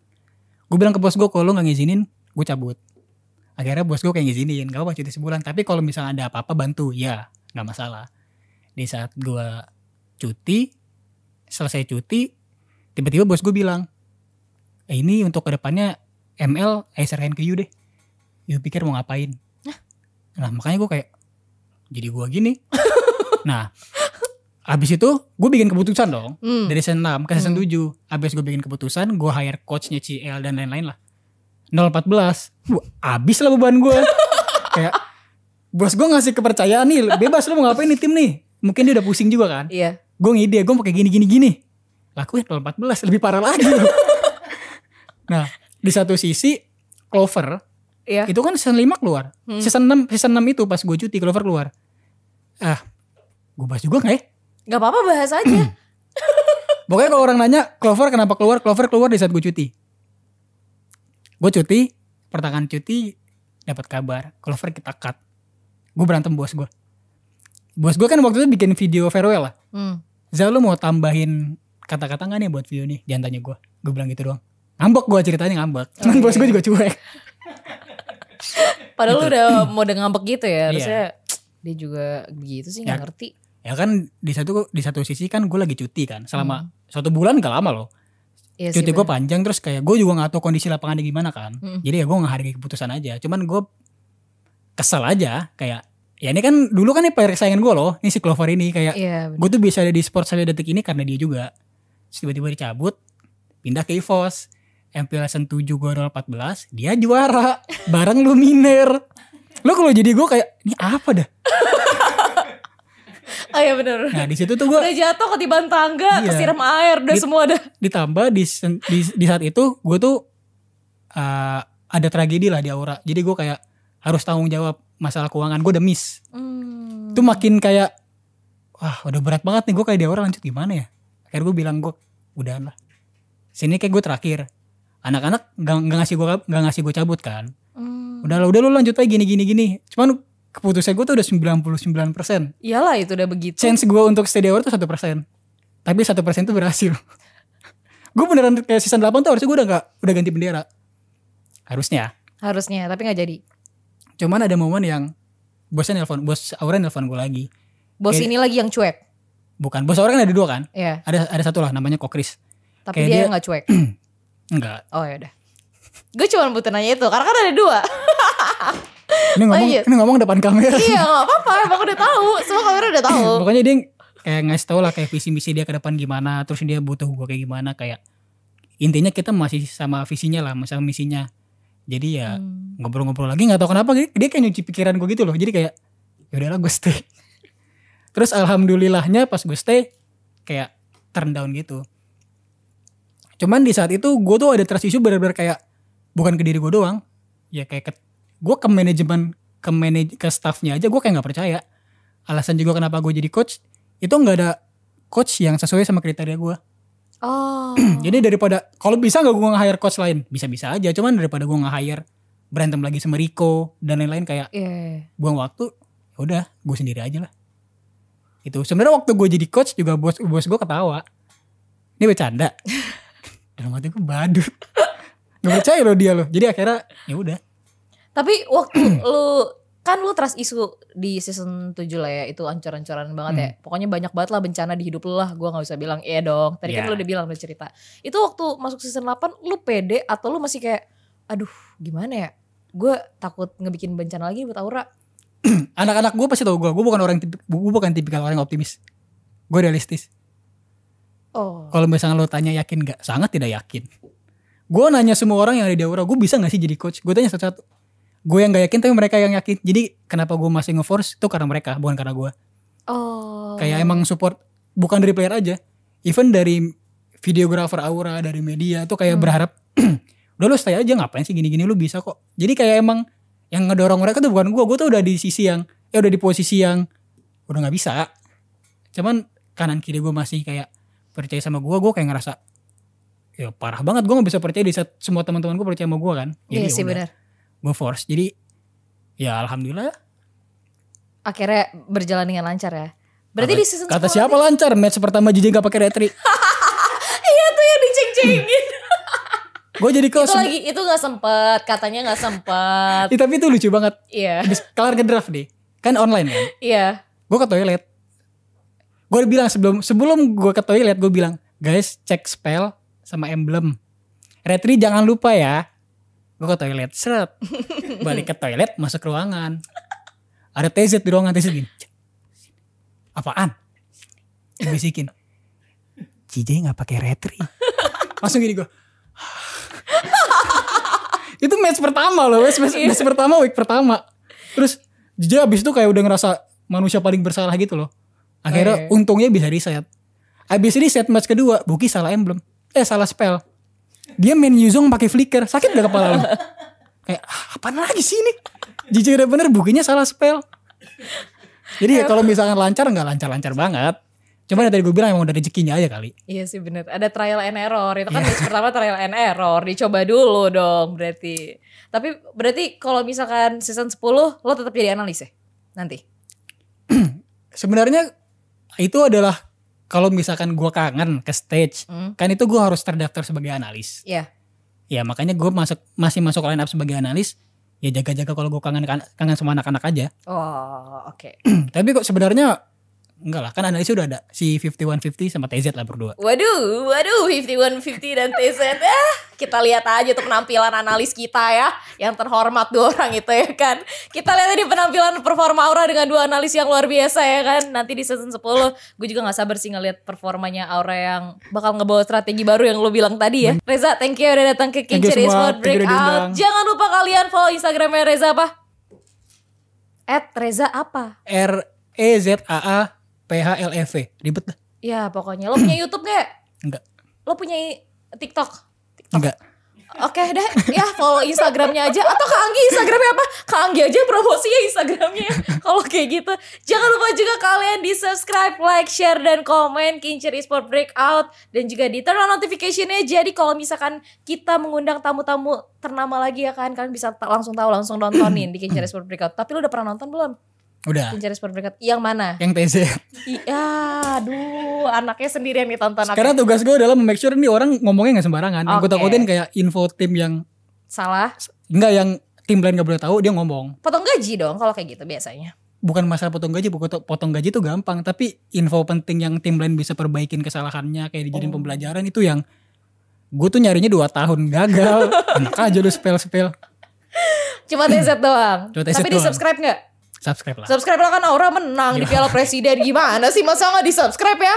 Speaker 1: Gue bilang ke bos gue kalau lo nggak ngizinin, gue cabut. Akhirnya bos gue kayak ngizinin, gak apa-apa cuti sebulan. Tapi kalau misalnya ada apa-apa bantu, ya nggak masalah. di saat gue cuti selesai cuti tiba-tiba bos gue bilang eh, ini untuk kedepannya ML saya serahin ke you deh you pikir mau ngapain nah makanya gue kayak jadi gue gini nah abis itu gue bikin keputusan dong
Speaker 3: Hmm.
Speaker 1: dari season 6 ke season
Speaker 3: Hmm.
Speaker 1: 7 abis gue bikin keputusan gue hire coachnya CL dan lain-lain lah 014 Wah, abis lah beban gue kayak bos gue ngasih kepercayaan nih bebas lu mau ngapain nih tim nih mungkin dia udah pusing juga kan
Speaker 3: Iya.
Speaker 1: gue ngide gue pakai gini gini gini lakuin 014 lebih parah lagi nah di satu sisi Clover
Speaker 3: Iya.
Speaker 1: itu kan season 5 keluar
Speaker 3: Hmm.
Speaker 1: season 6 season 6 itu pas gue cuti Clover keluar ah gue bahas juga gak ya
Speaker 3: Gak apa-apa bahas aja.
Speaker 1: Pokoknya kalau orang nanya Clover kenapa keluar, Clover keluar di saat gue cuti. Gue cuti, pertengahan cuti dapat kabar Clover kita cut. Gue berantem bos gue. Bos gue kan waktu itu bikin video farewell lah.
Speaker 3: Hmm.
Speaker 1: Zal lu mau tambahin kata-kata gak nih buat video nih? Jangan tanya gue. Gue bilang gitu doang. Ngambek gue ceritanya ngambek. Cuman
Speaker 3: Oke.
Speaker 1: bos gue juga cuek.
Speaker 3: Padahal lu udah mode ngambek gitu
Speaker 1: Iya.
Speaker 3: ya. Harusnya dia juga begitu sih nggak
Speaker 1: Ya.
Speaker 3: ngerti.
Speaker 1: Ya kan di satu di satu sisi kan gue lagi cuti kan selama satu bulan gak lama loh.
Speaker 3: Iya sih,
Speaker 1: cuti gue
Speaker 3: bener.
Speaker 1: panjang terus kayak gue juga nggak tahu kondisi lapangannya gimana kan
Speaker 3: Mm.
Speaker 1: jadi ya gue ngehargai keputusan aja cuman gue kesel aja kayak ya ini kan dulu kan ini player kesayangan gue loh ini si Clover ini kayak
Speaker 3: Iya. bener.
Speaker 1: gue tuh bisa ada di sport sampai detik ini karena dia juga Terus tiba-tiba dicabut pindah ke EVOS MPL Season 7 gue 14 dia juara bareng Luminer lo kalau jadi gue kayak ini apa dah
Speaker 3: Oh iya bener.
Speaker 1: nah di situ tuh gue
Speaker 3: Udah jatuh ketiban tangga,
Speaker 1: Iya.
Speaker 3: kesiram air, udah
Speaker 1: Dit-
Speaker 3: semua ada.
Speaker 1: ditambah di sen- di, di saat itu gue tuh uh, ada tragedi lah di aura jadi gue kayak harus tanggung jawab masalah keuangan gue udah miss
Speaker 3: Hmm.
Speaker 1: itu makin kayak wah udah berat banget nih gue kayak di aura lanjut gimana ya akhirnya gue bilang gue udahan lah sini kayak gue terakhir anak-anak gak, ngasih gue gak ngasih gue cabut kan
Speaker 3: Hmm.
Speaker 1: udah lah udah lu lanjut aja gini gini gini cuman keputusan gue tuh udah 99%
Speaker 3: Iyalah itu udah begitu.
Speaker 1: chance gue untuk stay di awal tuh 1% Tapi 1% itu berhasil Gue beneran kayak season 8 tuh harusnya gue udah gak, udah ganti bendera Harusnya
Speaker 3: Harusnya, tapi nggak jadi.
Speaker 1: Cuman ada momen yang Bosnya nelpon, bos Aura nelpon gue lagi
Speaker 3: Bos
Speaker 1: Kayak-
Speaker 3: ini lagi yang cuek.
Speaker 1: Bukan, bos Aura kan ada dua kan
Speaker 3: Ya,
Speaker 1: Ada ada satu lah namanya Kokris
Speaker 3: tapi
Speaker 1: Kayak
Speaker 3: dia
Speaker 1: dia-
Speaker 3: nggak cuek.
Speaker 1: Enggak
Speaker 3: Oh ya udah. Gue cuma butuh nanya itu karena kan ada dua.
Speaker 1: Ini ngomong,
Speaker 3: iya.
Speaker 1: ini ngomong depan kamera
Speaker 3: iya nggak apa-apa, emang udah tahu. Semua kamera udah tahu.
Speaker 1: Iya, Pokoknya dia kayak ngasih tau lah kayak visi misi dia ke depan gimana Terus dia butuh gue kayak gimana Kayak intinya kita masih sama visinya lah Sama misinya Jadi ya
Speaker 3: Hmm.
Speaker 1: ngobrol-ngobrol lagi nggak tahu kenapa dia, dia kayak nyuci pikiran gue gitu loh jadi kayak ya udahlah gue stay terus alhamdulillahnya pas gue stay kayak turn down gitu cuman di saat itu gue tuh ada trust issue bener-bener kayak bukan ke diri gue doang ya kayak ke, gue ke manajemen ke manaj ke staffnya aja gue kayak nggak percaya alasan juga kenapa gue jadi coach itu nggak ada coach yang sesuai sama kriteria gue
Speaker 3: Oh.
Speaker 1: jadi daripada kalau bisa nggak gue nge-hire coach lain bisa-bisa aja cuman daripada gue nge-hire berantem lagi sama Rico dan lain-lain kayak
Speaker 3: Iya.
Speaker 1: buang waktu ya udah gue sendiri aja lah itu sebenarnya waktu gue jadi coach juga bos bos gue ketawa ini bercanda dalam hati gue badut gak percaya loh dia loh jadi akhirnya ya udah
Speaker 3: Tapi waktu lu kan lu trust isu di season 7 lah ya itu ancur-ancuran banget ya
Speaker 1: Hmm.
Speaker 3: pokoknya banyak banget lah bencana di hidup lu lah gue nggak usah bilang iya dong tadi kan
Speaker 1: Iya.
Speaker 3: lu udah bilang udah cerita itu waktu masuk season 8 lu pede atau lu masih kayak aduh gimana ya gue takut ngebikin bencana lagi buat Aura
Speaker 1: anak-anak gue pasti tau gue gue bukan orang tipi- gue bukan tipikal orang yang optimis gue realistis
Speaker 3: oh
Speaker 1: kalau misalnya lo tanya yakin nggak sangat tidak yakin gue nanya semua orang yang ada di aura gue bisa nggak sih jadi coach gue tanya satu-satu gue yang nggak yakin tapi mereka yang yakin jadi kenapa gue masih ngeforce itu karena mereka bukan karena gue
Speaker 3: oh
Speaker 1: kayak emang support bukan dari player aja even dari videografer aura dari media tuh kayak
Speaker 3: Hmm.
Speaker 1: berharap udah lu stay aja ngapain sih gini-gini lu bisa kok jadi kayak emang yang ngedorong mereka tuh bukan gue gue tuh udah di sisi yang ya udah di posisi yang udah nggak bisa cuman kanan kiri gue masih kayak percaya sama gue gue kayak ngerasa ya parah banget gue nggak bisa percaya di saat semua teman-teman gue percaya sama gue kan
Speaker 3: iya sih benar
Speaker 1: gue force jadi ya alhamdulillah
Speaker 3: akhirnya berjalan dengan lancar ya. Berarti
Speaker 1: Kata-
Speaker 3: di season
Speaker 1: kata
Speaker 3: 10
Speaker 1: siapa lancar match pertama JJ gak pakai retri
Speaker 3: Iya tuh yang diceng-cengin.
Speaker 1: gue jadi
Speaker 3: itu
Speaker 1: coach
Speaker 3: lagi itu nggak sempet, katanya nggak sempet.
Speaker 1: Ih, tapi itu lucu banget.
Speaker 3: Iya,
Speaker 1: Habis kelar ke draft deh. Kan online kan.
Speaker 3: iya.
Speaker 1: Gue ke toilet. gue udah bilang sebelum sebelum gue ke toilet gue bilang guys cek spell sama emblem retri jangan lupa ya gue ke toilet seret balik ke toilet masuk ruangan ada TZ di ruangan TZ gini "Cek, apaan Gua bisikin CJ nggak pakai retri langsung gini gue itu match pertama loh match, match, match pertama week pertama terus JJ abis itu kayak udah ngerasa manusia paling bersalah gitu loh akhirnya
Speaker 3: Oh, iya.
Speaker 1: untungnya bisa reset abis ini set match kedua Buki salah emblem eh salah spell dia main Yuzong pakai flicker sakit gak kepala lu kayak ah, apaan lagi sih ini JJ udah bener bukinya salah spell jadi ya kalau misalkan lancar nggak lancar-lancar banget Cuma yang tadi gue bilang emang udah rezekinya aja kali.
Speaker 3: Iya sih bener. Ada trial and error. Itu kan match pertama trial and error. Dicoba dulu dong berarti. Tapi berarti kalau misalkan season 10 lo tetap jadi analis ya? Nanti.
Speaker 1: Sebenarnya itu adalah kalau misalkan gue kangen ke stage,
Speaker 3: Hmm.
Speaker 1: kan itu gue harus terdaftar sebagai analis.
Speaker 3: Iya.
Speaker 1: Ya makanya gue masuk masih masuk line up sebagai analis. Ya jaga-jaga kalau gue kangen kan, kangen sama anak-anak aja.
Speaker 3: Oh, oke.
Speaker 1: Tapi kok sebenarnya enggak lah kan analis udah ada si 5150 sama TZ lah berdua.
Speaker 3: Waduh, waduh 5150 dan TZ. Ah, kita lihat aja tuh penampilan analis kita ya. Yang terhormat dua orang itu ya kan. Kita lihat tadi penampilan performa Aura dengan dua analis yang luar biasa ya kan. Nanti di season 10 gue juga gak sabar sih ngelihat performanya Aura yang bakal ngebawa strategi baru yang lo bilang tadi ya. Reza, thank you udah datang ke
Speaker 1: Hmm. Thank you
Speaker 3: Kincir
Speaker 1: semua,
Speaker 3: Esports
Speaker 1: thank you udah diundang.
Speaker 3: Breakout. Jangan lupa kalian follow Instagramnya Reza apa? At Reza apa?
Speaker 1: R E Z A A P H L E V. Ribet lah.
Speaker 3: Ya pokoknya lo punya Youtube gak?
Speaker 1: Enggak.
Speaker 3: Lo punya TikTok?
Speaker 1: Enggak.
Speaker 3: Oke deh, ya follow Instagramnya aja atau Kak Anggi Instagramnya apa? Kak Anggi aja promosinya Instagramnya. ya. Kalau kayak gitu, jangan lupa juga kalian di subscribe, like, share, dan komen Kincir Esport Breakout dan juga di turn on notificationnya. Jadi kalau misalkan kita mengundang tamu-tamu ternama lagi ya kan, kalian bisa ta- langsung tahu langsung nontonin di Kincir Esport Breakout. Tapi lu udah pernah nonton belum?
Speaker 1: Udah.
Speaker 3: Kincir Esport Breakout yang mana?
Speaker 1: Yang TZ.
Speaker 3: Iya, aduh, anaknya sendirian ditonton.
Speaker 1: Karena
Speaker 3: Anaknya
Speaker 1: tugas gue adalah make sure nih orang ngomongnya nggak sembarangan. Yang Gue
Speaker 3: Oke.
Speaker 1: takutin kayak info tim yang
Speaker 3: salah.
Speaker 1: enggak yang tim lain nggak boleh tahu dia ngomong.
Speaker 3: Potong gaji dong kalau kayak gitu biasanya.
Speaker 1: Bukan masalah potong gaji, pokok- potong gaji itu gampang. Tapi info penting yang tim lain bisa perbaikin kesalahannya kayak dijadiin pembelajaran itu yang gue tuh nyarinya dua tahun gagal. Enak aja lu spell spell.
Speaker 3: Cuma TZ doang.
Speaker 1: Cuma TZ
Speaker 3: Tapi di
Speaker 1: doang. Iya.
Speaker 3: subscribe gak?
Speaker 1: Subscribe lah.
Speaker 3: Subscribe lah kan Aura menang di Piala Presiden. Gimana sih masa gak di subscribe ya?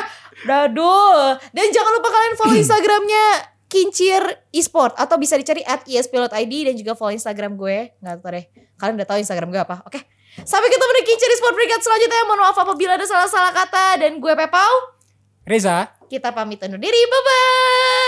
Speaker 3: Daduh. Dan jangan lupa kalian follow Instagramnya Kincir Esport. Atau bisa dicari at espilot.id dan juga follow Instagram gue. Gak tau deh. Kalian udah tahu Instagram gue apa. Oke. Sampai ketemu di Kincir Esport berikut selanjutnya. Mohon maaf apabila ada salah-salah kata. Dan gue Pepau.
Speaker 1: Reza.
Speaker 3: Kita pamit undur diri. Bye-bye.